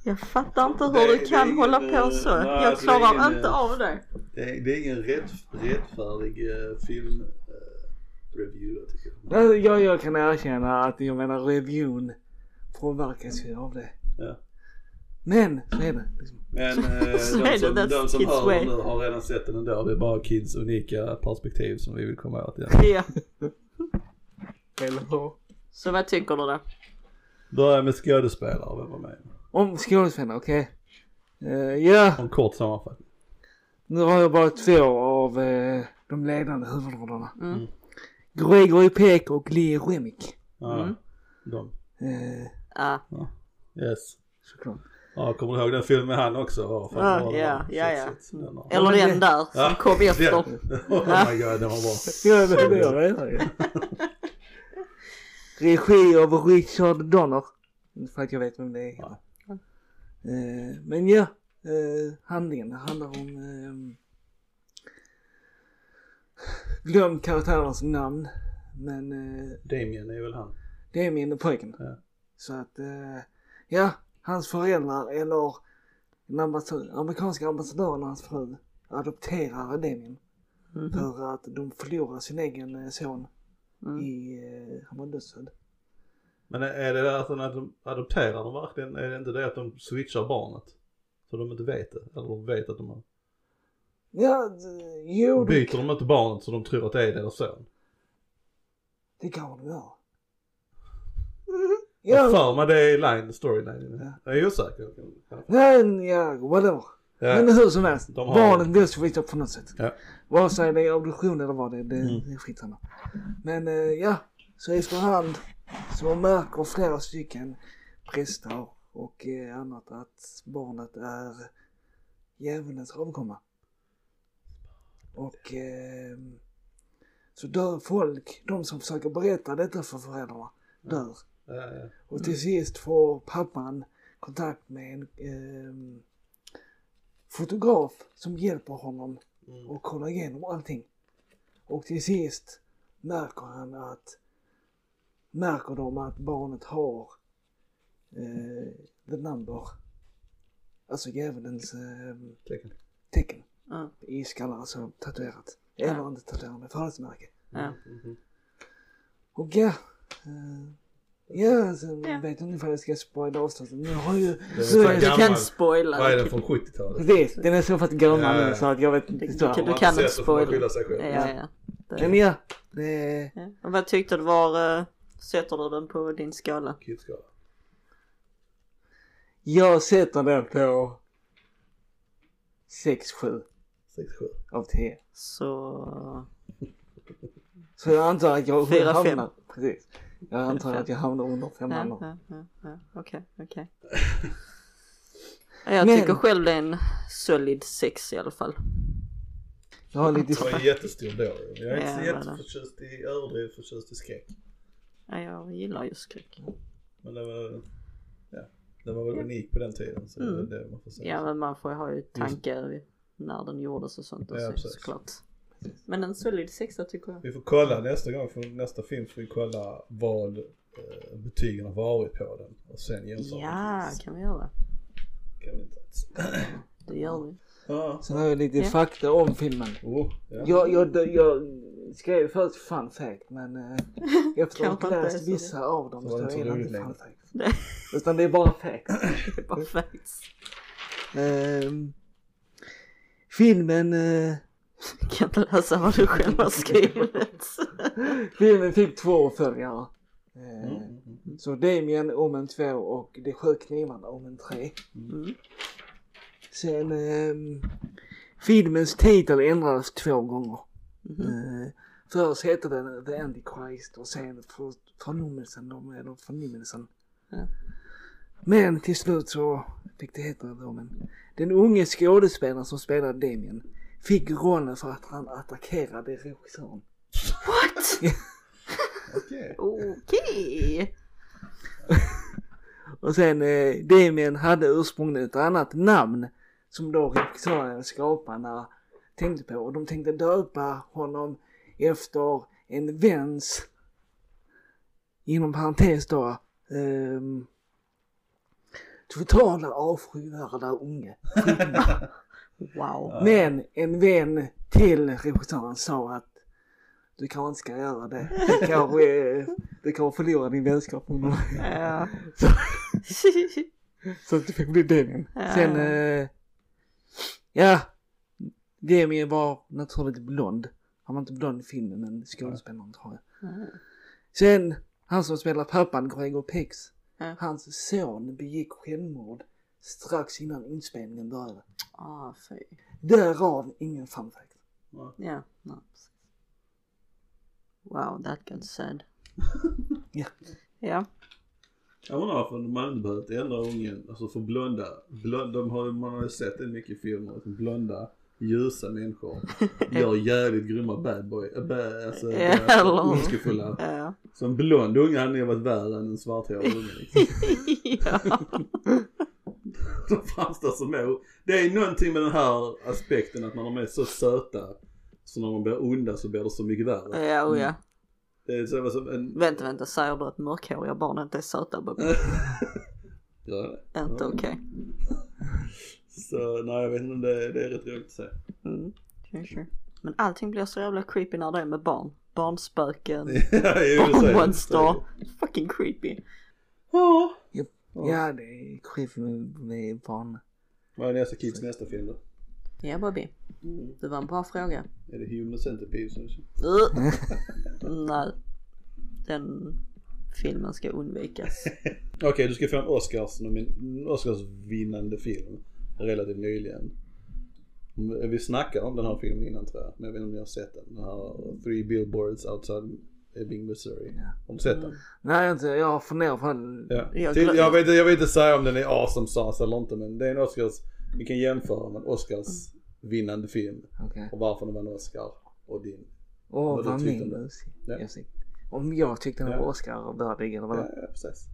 Speaker 1: Jag fattar inte hur
Speaker 2: Det-
Speaker 1: du
Speaker 2: det är
Speaker 1: kan
Speaker 2: ingen,
Speaker 1: hålla
Speaker 2: eh,
Speaker 1: på så.
Speaker 2: nej,
Speaker 1: jag
Speaker 2: alltså, det är
Speaker 1: klarar
Speaker 2: ingen,
Speaker 1: inte
Speaker 2: eh,
Speaker 1: av det.
Speaker 2: Det är, det är ingen rätt, rättfärdig eh, film eh, review jag tycker jag.
Speaker 3: Alltså, jag, jag kan erkänna att jag menar reviewn påverkas ju av det.
Speaker 2: Ja.
Speaker 3: Men så är det. Liksom.
Speaker 2: Men eh, de
Speaker 1: Så är det,
Speaker 2: som,
Speaker 1: that's
Speaker 2: de som
Speaker 1: kids
Speaker 2: hör
Speaker 1: way.
Speaker 2: den nu har redan sett den ändå. Det är bara kids unika perspektiv som vi vill komma åt. Ja.
Speaker 1: Ja.
Speaker 3: Eller hur?
Speaker 1: Så vad tycker du då?
Speaker 2: Börja med skådespelare, vem var med?
Speaker 3: Om skådespelare, okej. Eh, ja,
Speaker 2: En kort sammanfattning.
Speaker 3: nu har jag bara två av eh, de ledande huvudrollerna.
Speaker 1: Mm.
Speaker 3: Gregory Peck och Lee Remick.
Speaker 2: Ja,
Speaker 1: Mm.
Speaker 2: de.
Speaker 3: Eh,
Speaker 1: Ja,
Speaker 2: Yes.
Speaker 3: såklart.
Speaker 2: Ja, kommer du ihåg den filmen han också var? Fan,
Speaker 1: Ja,
Speaker 2: var det
Speaker 1: ja,
Speaker 2: var-
Speaker 1: ja,
Speaker 2: shit,
Speaker 1: ja.
Speaker 2: shit, den har-
Speaker 1: eller
Speaker 3: men det-
Speaker 1: den där som
Speaker 2: Ja,
Speaker 1: kom efter.
Speaker 2: den. Oh my god, den var bra.
Speaker 3: Ja, det det gör jag redan Regi av Richard Donner. Inte för att jag vet vem det är.
Speaker 2: Ja.
Speaker 3: Eh, men ja, eh, handlingen handlar om... Eh, glöm karaktärens namn. Men eh,
Speaker 2: Damien är väl han?
Speaker 3: det är min pojken.
Speaker 2: Ja.
Speaker 3: Så att, eh, ja, hans föräldrar eller den ambassadör, amerikanska ambassadören och hans fru adopterar Demin
Speaker 1: Mhm.
Speaker 3: för att de förlorar sin egen eh, son
Speaker 1: Mm.
Speaker 3: i, eh, han var dödsfödd.
Speaker 2: Men är- är det där att de adop- adopterar dem verkligen? Är det inte det att de switchar barnet? Så de inte vet det? Eller de vet att de har...
Speaker 3: Ja, d- jo, det,
Speaker 2: Byter de inte barnet så de tror att det är deras son?
Speaker 3: det kan de göra. Mhm.
Speaker 2: Jag
Speaker 3: Ja,
Speaker 2: för mig det är line, storyline. Jag är osäker.
Speaker 3: men ja, whatever.
Speaker 2: Ja.
Speaker 3: Men hur som helst,
Speaker 2: De har-
Speaker 3: barnet blir splittat på något sätt.
Speaker 2: Ja.
Speaker 3: Vare sig det är obduktion eller vad det är, det,
Speaker 2: Mm.
Speaker 3: det är skitsamma. Men eh, ja, så efterhand så märker flera stycken präster och eh, annat att barnet är djävulens avkomma. Och eh, så dör folk, de som försöker berätta detta för föräldrarna, dör.
Speaker 2: Ja, ja.
Speaker 3: Och till sist får pappan kontakt med en ehm, fotograf som hjälper honom
Speaker 2: Mm.
Speaker 3: och kollar igenom allting. Och till sist märker han att märker de att barnet har eh, the number, alltså djävulens ehm,
Speaker 2: Tecken.
Speaker 3: tecken
Speaker 1: Ja.
Speaker 3: i skallen, alltså tatuerat. Eller inte tatuerat, men födelsemärke.
Speaker 1: Ja.
Speaker 2: Mhm.
Speaker 3: Och ja. eh, Ja, sen
Speaker 1: Ja.
Speaker 3: vet jag inte ifall jag ska spoila avsnittet. Nu har ju...
Speaker 2: Det är
Speaker 3: så
Speaker 2: så
Speaker 3: är
Speaker 1: Du
Speaker 3: det,
Speaker 2: gammal.
Speaker 1: kan spoila.
Speaker 2: Vad är den
Speaker 1: Du
Speaker 2: från 70-talet?
Speaker 3: precis, den är så pass gammal
Speaker 2: Ja, ja.
Speaker 3: nu så att jag vet inte.
Speaker 1: kan-
Speaker 3: historien.
Speaker 1: Du
Speaker 2: man
Speaker 1: kan
Speaker 2: inte
Speaker 1: inte
Speaker 2: sett det får man
Speaker 1: spoila.
Speaker 2: skylla sig själv.
Speaker 1: Ja, ja.
Speaker 3: Men
Speaker 1: Det-
Speaker 3: ja, det är...
Speaker 1: ja. Och Vad tyckte du var, eh, sätter du den på din skala?
Speaker 2: Kidskala.
Speaker 3: Jag sätter den på 6-7
Speaker 2: 6-7.
Speaker 3: av 10.
Speaker 1: Så...
Speaker 3: Så jag antar att jag
Speaker 1: Fyra, fem.
Speaker 3: hamnar... Precis. Jag antar
Speaker 1: fem.
Speaker 3: att jag hamnar under
Speaker 1: Ja,
Speaker 3: femman då.
Speaker 1: ja, ja, ja. Okej, okej. Ja, Jag
Speaker 3: Men-
Speaker 1: tycker själv det är en solid sex i alla fall.
Speaker 3: Jag har lite...
Speaker 2: Det var en jättestor då. Jag är inte så
Speaker 1: Ja, men-
Speaker 2: jätteförtjust i överdrivet förtjust i skräck.
Speaker 1: Ja, jag gillar ju skräck.
Speaker 2: Men det var, ja, den var väl unik på den tiden. Så
Speaker 1: Mm.
Speaker 2: det, är det man får säga.
Speaker 1: Ja men man får ju ha ju tankar när den gjordes och sånt
Speaker 2: Ja,
Speaker 1: också
Speaker 2: precis.
Speaker 1: såklart. Men en solid sexa tycker jag.
Speaker 2: Vi får kolla nästa gång, för nästa film får vi kolla vad eh, betygen har varit på den. Och sen jämföra.
Speaker 1: Ja,
Speaker 2: med-
Speaker 1: kan vi göra.
Speaker 2: kan vi inte alls.
Speaker 1: Det gör vi.
Speaker 2: Ja.
Speaker 3: Sen har jag lite
Speaker 1: Ja.
Speaker 3: fakta om filmen.
Speaker 2: Oh, ja.
Speaker 3: Jag, jag, jag skrev först fun fact men eh, efter att
Speaker 1: Kanske
Speaker 3: ha
Speaker 1: inte
Speaker 3: läst
Speaker 1: är så
Speaker 3: vissa av dem
Speaker 2: Så
Speaker 3: så
Speaker 2: var det
Speaker 3: är
Speaker 2: inte
Speaker 3: det
Speaker 2: roligt
Speaker 3: inte
Speaker 2: längre.
Speaker 3: fun fact.
Speaker 1: Nej.
Speaker 3: Utan det är bara fact.
Speaker 1: Det är bara facts.
Speaker 3: Ehm, filmen, eh,
Speaker 1: Jag kan inte läsa vad du själv har skrivit.
Speaker 3: filmen fick två uppföljare. Eh,
Speaker 2: Mm, mm, mm.
Speaker 3: Så Damien om en två och De sju knivarna om en tre.
Speaker 1: Mm.
Speaker 3: Sen ehm, filmens titel ändrades två gånger.
Speaker 1: Mhm.
Speaker 3: Eh, först hette den The Antichrist och sen för, förnimmelsen, de, eller förnimmelsen.
Speaker 1: Ja.
Speaker 3: Men till slut så fick det heta Romen. Den unge skådespelaren som spelade Damien fick rollen för att han attackerade regissören.
Speaker 1: What?
Speaker 2: Okej.
Speaker 1: Okej!
Speaker 3: Och sen eh, Damien hade ursprungligen ett annat namn som då regissören skaparna tänkte på och de tänkte döpa honom efter en väns inom parentes då ehm, totala avskyvärda unge.
Speaker 1: Wow.
Speaker 3: Men en vän till regissören sa att du kanske inte ska göra det. Du kanske, eh, du kanske förlorar din vänskap med honom.
Speaker 1: Ja.
Speaker 3: Så, så att det fick bli Damien. Sen, eh, ja. Damien var naturligt blond. Han var inte blond i filmen men skådespelaren tror jag. Sen, han som spelar pappan, Gregor Pex.
Speaker 1: Ja.
Speaker 3: Hans son begick självmord strax innan inspelningen började.
Speaker 1: Ah, fy.
Speaker 3: Därav ingen fun fact.
Speaker 1: Ja, no, precis. Wow, that got sad.
Speaker 3: Ja.
Speaker 1: Ja.
Speaker 2: Jag undrar varför man inte behövt ändra ungen, alltså för blonda, blonda de har, man har ju sett det mycket i filmer, att blonda ljusa människor gör jävligt grymma bad boy, äh, bad, alltså,
Speaker 1: Ja,
Speaker 2: alltså
Speaker 1: eller-
Speaker 2: ondskefulla.
Speaker 1: Ja.
Speaker 2: Så en blond unge hade nog varit värre än en svarthårig unge liksom. De framstår som mer, det är någonting med den här aspekten att man de är så söta så när de blir onda så blir det så mycket värre.
Speaker 1: Ja, oh, ja.
Speaker 2: Det är så, som en,
Speaker 1: Vänta, vänta, säger du att mörkhåriga barn inte är söta Bobby?
Speaker 2: gör jag det?
Speaker 1: Inte okej.
Speaker 2: Så nej jag vet inte om det, det är rätt roligt att se.
Speaker 1: Mm. Sure, sure. Men allting blir så jävla creepy när det är med barn. Barnspöken,
Speaker 2: Ja, ju, det säger-
Speaker 1: barnmonster. Fucking creepy.
Speaker 2: Ja.
Speaker 3: Japp. Ja, det är skit med, med barn.
Speaker 2: Vad är nästa Kids nästa film då?
Speaker 1: Ja Bobby, det var en bra fråga.
Speaker 2: Är det Human Centipede som
Speaker 1: Ugh. Nej. Den filmen ska undvikas.
Speaker 2: Okej, du ska få en Oscars, nomin- Oscarsvinnande film relativt nyligen. Mm, Vi snackade om den här filmen innan tror jag, men jag vet inte om ni har sett den. Den här Three Billboards Outside Ebbing, Missouri. Har du sett den?
Speaker 3: Nej, inte. Jag har funderat på det.
Speaker 2: Ja.
Speaker 1: Jag
Speaker 2: Jag,
Speaker 1: glöm-
Speaker 2: jag, vet, inte- jag vet inte säga om den är awesome sauce eller inte, men det är en Oscars, vi kan jämföra med en Oscarsvinnande film
Speaker 3: Okej.
Speaker 2: och varför den vann Oscar och din.
Speaker 3: Åh,
Speaker 2: Vad du
Speaker 3: vad
Speaker 2: tyckte om
Speaker 3: min
Speaker 2: det.
Speaker 3: musik.
Speaker 2: Ja.
Speaker 3: Jag ser. Om jag tyckte den var
Speaker 2: Ja.
Speaker 3: Oscar-värdig eller vad
Speaker 2: Ja,
Speaker 3: det
Speaker 2: ja, precis.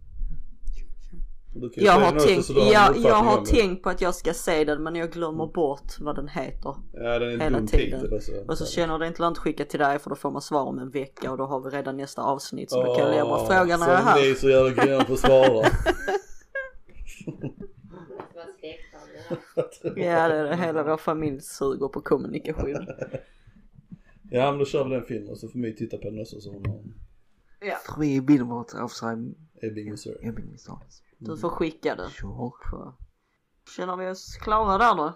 Speaker 2: Du kan ju
Speaker 1: Jag
Speaker 2: säga
Speaker 1: har,
Speaker 2: något
Speaker 1: tänkt,
Speaker 2: så du har en
Speaker 1: jag, jag
Speaker 2: uppfattning
Speaker 1: har
Speaker 2: om den.
Speaker 1: tänkt på att jag ska se den men jag glömmer bort vad den heter.
Speaker 2: Ja, den är en
Speaker 1: hela
Speaker 2: dum
Speaker 1: tiden.
Speaker 2: titel alltså.
Speaker 1: Och så känner det inte lönt att skicka till dig för då får man svar om en vecka och då har vi redan nästa avsnitt så då kan jag lämna frågan när jag är
Speaker 2: Sen är
Speaker 1: här.
Speaker 2: så jävla grön på att svara.
Speaker 4: Det måste vara släktbarn. det där.
Speaker 1: Ja det är det. hela vår familj suger på kommunikation.
Speaker 2: ja men då kör vi den filmen och så får My titta på den också så hon har
Speaker 1: Ja.
Speaker 3: var. Three billboards outside
Speaker 2: Ebbing Missouri.
Speaker 3: Ebbing, Missouri.
Speaker 1: Du får skicka den.
Speaker 3: Sure.
Speaker 1: På. Känner vi oss klara där då?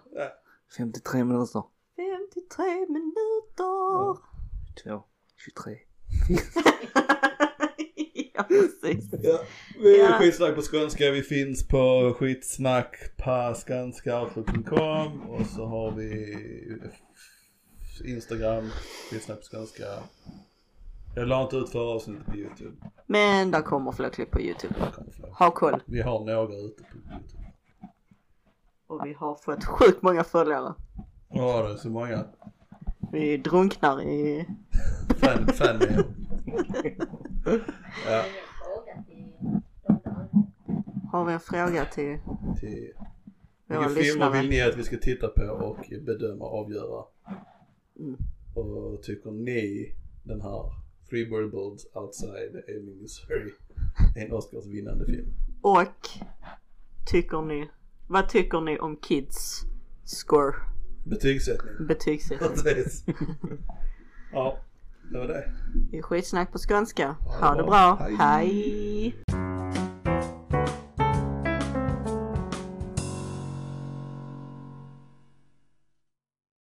Speaker 3: 53 minuter.
Speaker 1: 53 minuter!
Speaker 3: 2. 23.
Speaker 1: ja precis.
Speaker 2: Ja, vi är
Speaker 1: Ja.
Speaker 2: skitsnack på skånska. Vi finns på skitsnack på skanska.com och så har vi Instagram, skitsnack på skånska. Jag la inte ut förra avsnittet på YouTube.
Speaker 1: Men där kommer fler klipp på youtube.
Speaker 2: Där kommer fler.
Speaker 1: Ha koll.
Speaker 2: Vi har några ute på YouTube.
Speaker 1: Och vi har fått sjukt många följare.
Speaker 2: Ja, det är så många.
Speaker 1: Vi drunknar i...
Speaker 2: Fan, fan med.
Speaker 4: Det är en fråga till de där.
Speaker 1: Har vi en fråga till
Speaker 2: Till
Speaker 1: våra
Speaker 2: Vilka filmer
Speaker 1: lyssnare?
Speaker 2: vill ni att vi ska titta på och bedöma och avgöra?
Speaker 1: Mm.
Speaker 2: Och tycker ni den här Three Billboards Outside Ebbing, Missouri är en Oscarsvinnande film?
Speaker 1: Och tycker ni... Vad tycker ni om kids score
Speaker 2: Betygssättning.
Speaker 1: betygssättning?
Speaker 2: Precis. ja, det var det.
Speaker 1: I skitsnack på skånska.
Speaker 2: det
Speaker 1: Ha det
Speaker 2: bra.
Speaker 1: bra.
Speaker 2: Hej.
Speaker 1: Hej.